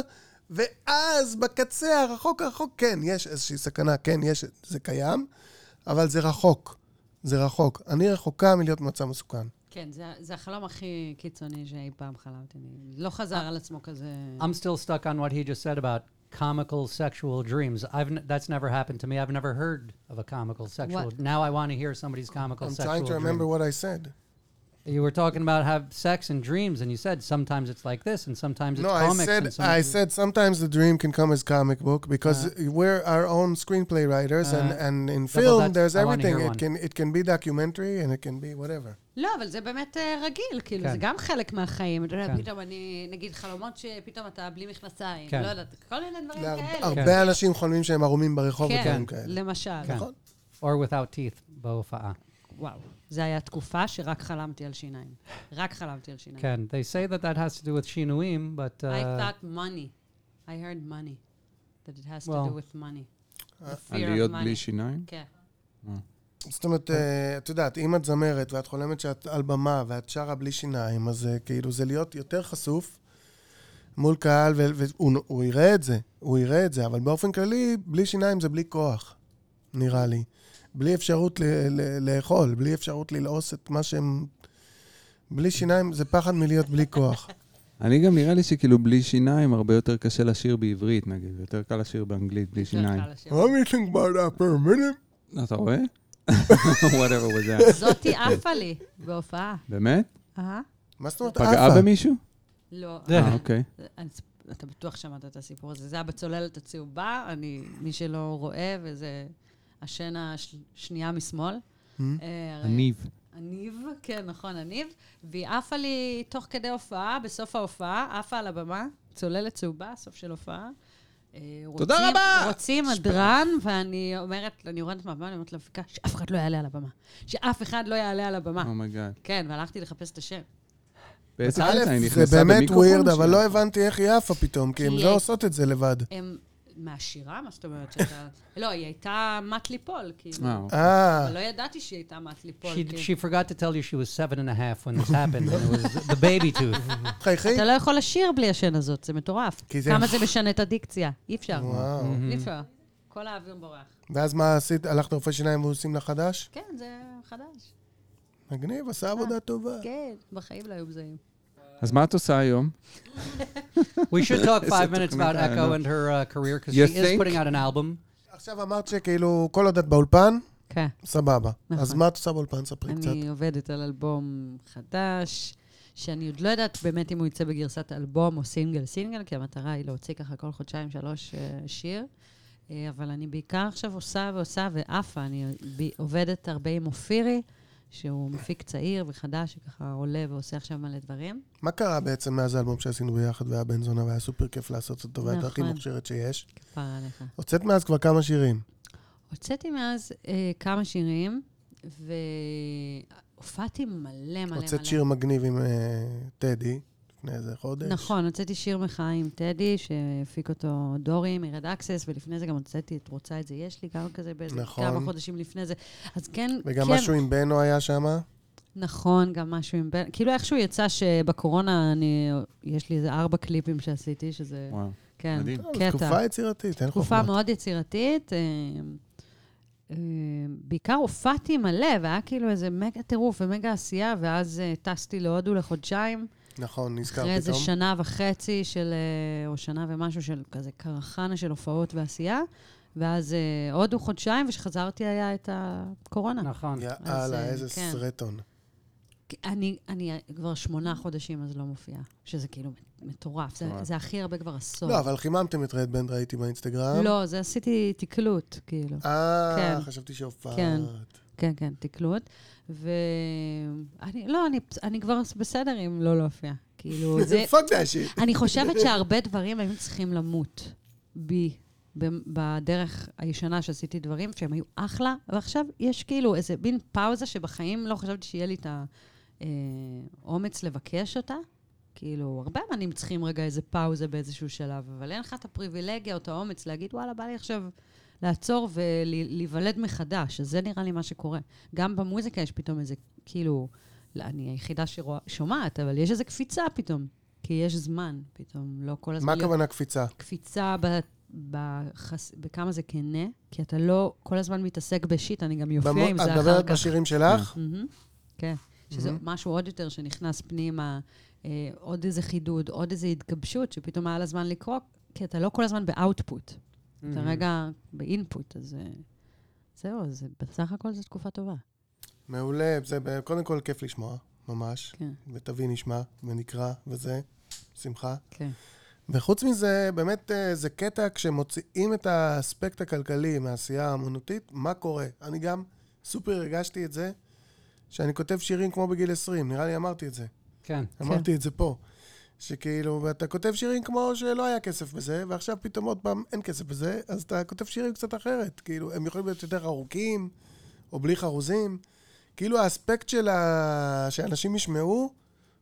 S4: ואז בקצה הרחוק הרחוק, כן, יש איזושהי סכנה, כן, יש, זה קיים, אבל זה רחוק. זה רחוק. אני רחוקה מלהיות במצב מסוכן.
S6: כן, זה, זה החלום הכי קיצוני שאי פעם חלמתי. אני- לא חזר על עצמו כזה...
S3: I'm still stuck on what he just said about comical sexual dreams. I've n- that's never happened to me. I've never heard of a comical sexual.
S6: What?
S3: Now I want to hear somebody's comical
S4: I'm
S3: sexual
S4: trying to
S3: dream.
S4: remember what I said.
S3: You were talking about have sex and dreams, and you said sometimes it's like this, and sometimes it's
S4: No, I
S3: comics.
S4: said
S3: and some-
S4: I said sometimes the dream can come as comic book because we're our own screenplay writers and,
S3: Uh,
S4: and in
S3: Uh-huh. Double
S4: film
S3: Dutch,
S4: there's
S3: I wanna hear
S4: everything. It
S3: one.
S4: can it can be documentary and it can be whatever.
S6: לא, אבל זה באמת אה, רגיל, כאילו,
S3: כן.
S6: זה גם חלק מהחיים. אתה יודע,
S3: כן.
S6: פתאום אני, נגיד, חלומות שפתאום אתה בלי מכנסיים,
S3: כן.
S6: לא יודעת, כל מיני דברים
S4: להרבה-
S6: כאלה.
S4: הרבה אנשים חולמים שהם ערומים ברחוב
S6: כן,
S4: ודברים לא, כאלה.
S6: למשל.
S3: כן. or without teeth, בהופעה.
S6: וואו. זה היה תקופה שרק חלמתי על שיניים. רק חלמתי על שיניים.
S3: Can they say that that has to do with shinuim? But uh,
S6: I thought money. I heard money. That it has
S3: Well.
S6: to do with money. The
S5: על
S6: fear
S5: להיות
S6: of
S5: בלי
S6: money.
S5: שיניים?
S6: כן.
S4: זאת אומרת, אה, את יודעת, אם את זמרת ואת חולמת שאת על במה ואת שרה בלי שיניים, אז אה, כאילו זה להיות יותר חשוף מול קהל, ו- והוא נו- הוא יראה את זה, הוא יראה את זה, אבל באופן כללי, בלי שיניים זה בלי כוח, נראה לי. בלי אפשרות ל- ל- לאכול, בלי אפשרות ללעוס את מה שהם... בלי שיניים זה פחד מלהיות בלי *laughs* כוח.
S5: כן. אני גם נראה לי שכאילו בלי שיניים הרבה יותר קשה לשיר בעברית, נגיד. יותר קל לשיר באנגלית בלי שיניים.
S6: יותר קל לשיר.
S4: I'm eating about that per minute.
S5: אתה רואה? *laughs* whatever was that.
S6: זאתי עפה לי בהופעה.
S5: באמת?
S6: אהה.
S4: מה זאת אומרת?
S5: פגעה
S4: עפה.
S5: במישהו?
S6: לא.
S3: כן.
S5: אה, אוקיי.
S6: אני- אתה בטוח שמעת את הסיפור הזה. זה היה בצוללת הצהובה, אני, מי שלא רואה, וזה השן השנייה משמאל. אה, הרי-
S5: Mm-hmm. הניב.
S6: הניב, כן, נכון, הניב. והיא עפה לי תוך כדי הופעה, בסוף ההופעה, עפה על הבמה, צוללת צהובה, סוף של הופעה. אה,
S5: תודה
S6: רוצים-
S5: רבה!
S6: רוצים הדרן, ואני אומרת, אני יורדת מהבמה, אני אומרת למפיקה, שאף אחד לא יעלה על הבמה. שאף אחד לא יעלה על הבמה.
S5: אומייגאד.
S6: כן, והלכתי לחפש את השם.
S5: Oh באיזה קטע היא
S4: א', זה
S5: נכנסה
S4: באמת
S5: במיקרופון
S4: ווירד,
S5: או
S4: אבל
S5: שהיא-
S4: לא הבנתי איך היא עפה פתאום, כי הן
S6: כי
S4: לא
S6: היא-
S4: עושות את זה לבד.
S6: הם... מהשירה? מה זאת אומרת שאתה... לא, היא הייתה מת ליפול, כאילו.
S5: אה, אוקיי.
S4: אה,
S6: אבל לא ידעתי שהיא הייתה מת ליפול.
S3: she
S6: כאילו.
S3: she forgot to tell you she was seven and a half when this happened, and it was *laughs* the baby tooth.
S4: חייכי.
S6: אתה לא יכול לשיר בלי השן הזאת, זה מטורף.
S4: כי זה-
S6: כמה זה משנה את הדיקציה. אי אפשר.
S4: וואו.
S6: אי אפשר. כל האוויר בורח.
S4: ואז מה עשית? הלכת לרופא שיניים ועושים לך חדש?
S6: כן, זה חדש.
S4: מגניב, עשה עבודה טובה.
S6: אה. כן, בחיים לא היו מזהים.
S5: אז מה את עושה היום?
S3: We should talk five
S5: It's
S3: minutes
S5: a
S3: about
S5: documentary, I
S3: Echo
S5: know.
S3: and her uh, career because she
S5: You
S3: is
S5: think?
S3: putting out an album.
S4: עכשיו אמרת שכאילו, כל עוד את באולפן,
S6: כן.
S4: סבבה.
S6: נכון.
S4: אז מה את עושה באולפן? ספרי קצת.
S6: אני עובדת על אלבום חדש, שאני עוד לא יודעת באמת אם הוא יצא בגרסת אלבום או סינגל סינגל, כי המטרה היא להוציא ככה כל חודשיים שלוש אה, שיר. אה, אבל אני בעיקר עכשיו עושה ועושה ועפה, אני ב- עובדת הרבה עם אופירי, שהוא מפיק צעיר וחדש, שככה עולה ועושה עכשיו מלא דברים.
S4: מה קרה בעצם מאז האלבום שעשינו ביחד והיה בן זונה והיה סופר כיף לעשות אותו, ואת הכי
S6: נכון.
S4: מוכשרת שיש?
S6: כפר עליך.
S4: הוצאת מאז כבר כמה שירים.
S6: הוצאתי מאז אה, כמה שירים, והופעתי מלא מלא מלא.
S4: הוצאת שיר מגניב עם אה, טדי לפני איזה חודש.
S6: נכון, הוצאתי שיר מחאה עם טדי, שהפיק אותו דורי מרד אקסס, ולפני זה גם הוצאתי את רוצה את זה יש לי, גם כזה באיזה
S4: נכון.
S6: כמה חודשים לפני זה. אז כן,
S4: וגם
S6: כן,
S4: משהו עם בנו היה שם.
S6: נכון, גם משהו עם בן. כאילו איכשהו יצא שבקורונה אני, יש לי איזה ארבע קליפים שעשיתי, שזה,
S5: וואו.
S6: כן,
S5: מדהים.
S6: קטע.
S4: אה, תקופה יצירתית, אין
S6: תקופה
S4: חוכמות.
S6: מאוד יצירתית. אה, אה, בעיקר הופעתי מלא, והיה כאילו איזה מגה טירוף ומגה עשייה, ואז אה, טסתי להודו לחודשיים.
S4: נכון, נזכר
S6: אחרי איזה
S4: פתאום.
S6: שנה וחצי של, אה, או שנה ומשהו של כזה קרחנה של הופעות ועשייה, ואז אה, הודו חודשיים, וכשחזרתי היה את הקורונה.
S4: נכון.
S3: Nachon.
S6: אז,
S4: יאללה,
S6: אה,
S4: איזה
S6: כן.
S4: סרטון.
S6: כי אני, אני אה, כבר שמונה חודשים אז לא מופיעה, שזה כאילו מטורף. זה, זה הכי הרבה כבר עשור.
S4: נכון. לא, אבל חיממתם את רדבנד, ראיתי באינסטגרם.
S6: לא, זה עשיתי תקלוט, כאילו.
S4: אה,
S6: כן.
S4: חשבתי שהופעת. *laughs*
S6: כן. כן, כן, תקלוט. ואני, לא, אני, אני כבר בסדר אם לא להופיע. כאילו, זה...
S4: פאק דה שיט. *laughs*
S6: אני חושבת שהרבה דברים היו צריכים למות בי, ב- בדרך הישנה שעשיתי דברים שהם היו אחלה, ועכשיו יש כאילו איזה מין פאוזה שבחיים לא חשבתי שיהיה לי את האומץ אה, לבקש אותה, כאילו, הרבה אמנים צריכים רגע איזה פאוזה באיזשהו שלב, אבל אין לך את הפריבילגיה או את האומץ להגיד, וואלה, בא לי עכשיו לעצור ולהיוולד מחדש. אז זה נראה לי מה שקורה. גם במוזיקה יש פתאום איזה, כאילו, לא, אני היחידה ששומעת, אבל יש איזה קפיצה פתאום. כי יש זמן פתאום, לא כל הזמן...
S4: מה
S6: להיות-
S4: הכוונה קפיצה?
S6: קפיצה ב... בחס... בכמה זה כנה, כי אתה לא כל הזמן מתעסק בשיט, אני גם יופיע
S4: במו-
S6: עם
S4: את
S6: זה אחר
S4: מדברת
S6: כך.
S4: בשירים שלך?
S6: מהמם, כן, שזה משהו עוד יותר שנכנס פנימה, אה, עוד איזה חידוד, עוד איזה התגבשות, שפתאום היה לה זמן לקרוא, כי אתה לא כל הזמן באאוטפוט. אתה
S3: Mm.
S6: רגע באינפוט, אז אה, זהו, אז בסך הכל זו תקופה טובה.
S4: מעולה, זה ב- קודם כל כיף לשמוע, ממש.
S6: כן,
S4: ותביא נשמע, ונקרא, וזה, שמחה.
S6: כן.
S4: וחוץ מזה, באמת אה, זה קטע כשמוציאים את האספקט הכלכלי מהעשייה האמנותית, מה קורה? אני גם סופר הרגשתי את זה, שאני כותב שירים כמו בגיל 20, נראה לי אמרתי את זה.
S3: כן.
S4: אמרתי את זה פה. שכאילו, אתה כותב שירים כמו שלא היה כסף בזה, ועכשיו פתאום עוד פעם אין כסף בזה, אז אתה כותב שירים קצת אחרת. כאילו, הם יכולים להיות יותר ארוכים, או בלי חרוזים. כאילו, האספקט של ה... שאנשים ישמעו,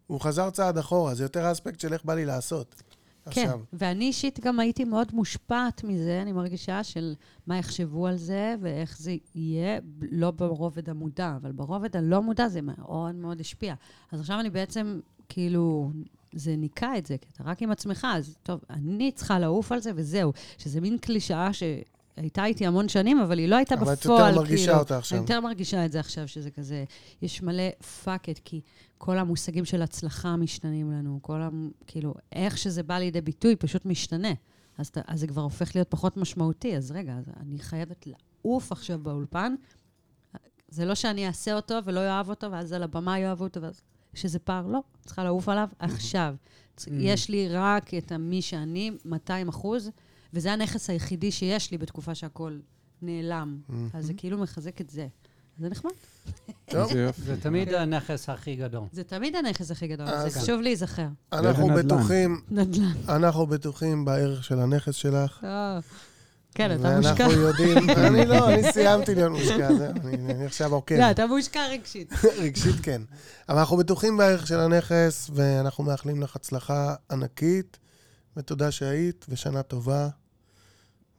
S4: הוא חזר צעד אחורה. זה יותר האספקט של איך בא לי לעשות.
S6: כן,
S4: עכשיו.
S6: ואני אישית גם הייתי מאוד מושפעת מזה, אני מרגישה של מה יחשבו על זה ואיך זה יהיה, ב- לא ברובד המודע, אבל ברובד הלא מודע זה מאוד מאוד השפיע. אז עכשיו אני בעצם, כאילו, זה ניקה את זה, כי אתה רק עם עצמך, אז טוב, אני צריכה לעוף על זה וזהו. שזה מין קלישאה שהייתה איתי המון שנים, אבל היא לא הייתה
S4: אבל את יותר
S6: בפועל, כאילו.
S4: מרגישה אותה עכשיו.
S6: אני יותר מרגישה את זה עכשיו, שזה כזה, יש מלא fuck it, כי כל המושגים של הצלחה משתנים לנו, כל ה... כאילו, איך שזה בא לידי ביטוי פשוט משתנה. אז, אתה, אז זה כבר הופך להיות פחות משמעותי, אז רגע, אז אני חייבת לעוף עכשיו באולפן. זה לא שאני אעשה אותו ולא אוהב אותו, ואז על הבמה יאהבו אותו, ואז... שזה פער, לא, צריכה לעוף עליו עכשיו. צ- יש לי רק את המי שאני, 200 אחוז, וזה הנכס היחידי שיש לי בתקופה שהכול נעלם. אז זה כאילו מחזק את זה. זה נחמד.
S4: טוב,
S5: איזה יופי.
S3: זה תמיד הנכס הכי גדול.
S6: זה תמיד הנכס הכי גדול,
S4: אז-
S6: זה חשוב להיזכר.
S4: אנחנו
S5: נדל"ן.
S4: בטוחים, *laughs*
S6: נדל"ן.
S4: אנחנו בטוחים בערך של הנכס שלך.
S6: טוב. כן, אתה מושקע.
S4: ואנחנו
S6: *laughs*
S4: יודעים, אני לא, אני סיימתי להיות מושקע, זהו, אני אני עכשיו עוקב.
S6: לא, אתה מושקע רגשית.
S4: רגשית כן. אבל אנחנו בטוחים בערך של הנכס, ואנחנו מאחלים לך הצלחה ענקית, ותודה שהיית, ושנה טובה,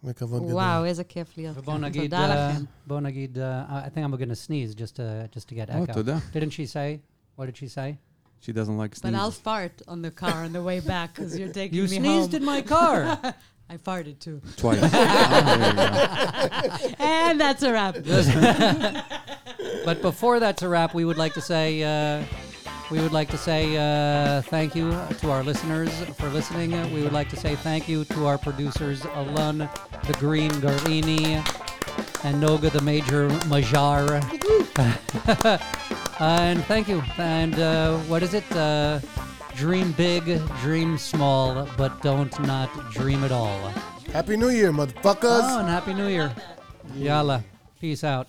S4: וכבוד גדול.
S6: וואו, איזה כיף להיות
S3: ובואו
S6: כאן.
S3: נגיד, uh,
S6: תודה לכם.
S3: בואו נגיד, uh, I think I'm gonna sneeze just to, just to get
S6: Oh,
S5: או,
S3: echo.
S5: אה, תודה.
S3: Didn't she say? What did she say?
S5: She doesn't like
S6: But I'll
S5: sneezes.
S6: fart on the car on the way back, because you're taking
S3: You
S6: me
S3: sneezed
S6: home.
S3: in my
S6: *laughs*
S3: car.
S6: I farted too.
S5: Twice. אה, Oh, there you go.
S6: And that's a wrap.
S3: But before that's a wrap, we would like to say uh, we would like to say uh, thank you to our listeners for listening. We would like to say thank you to our producers Alun, the Green Garini, and Noga, the Major Majar. *laughs* and thank you. And uh, what is it? Uh, dream big, dream small, but don't not dream at all.
S4: Happy New Year, motherfuckers!
S3: Oh, and happy New Year! Yalla, peace out.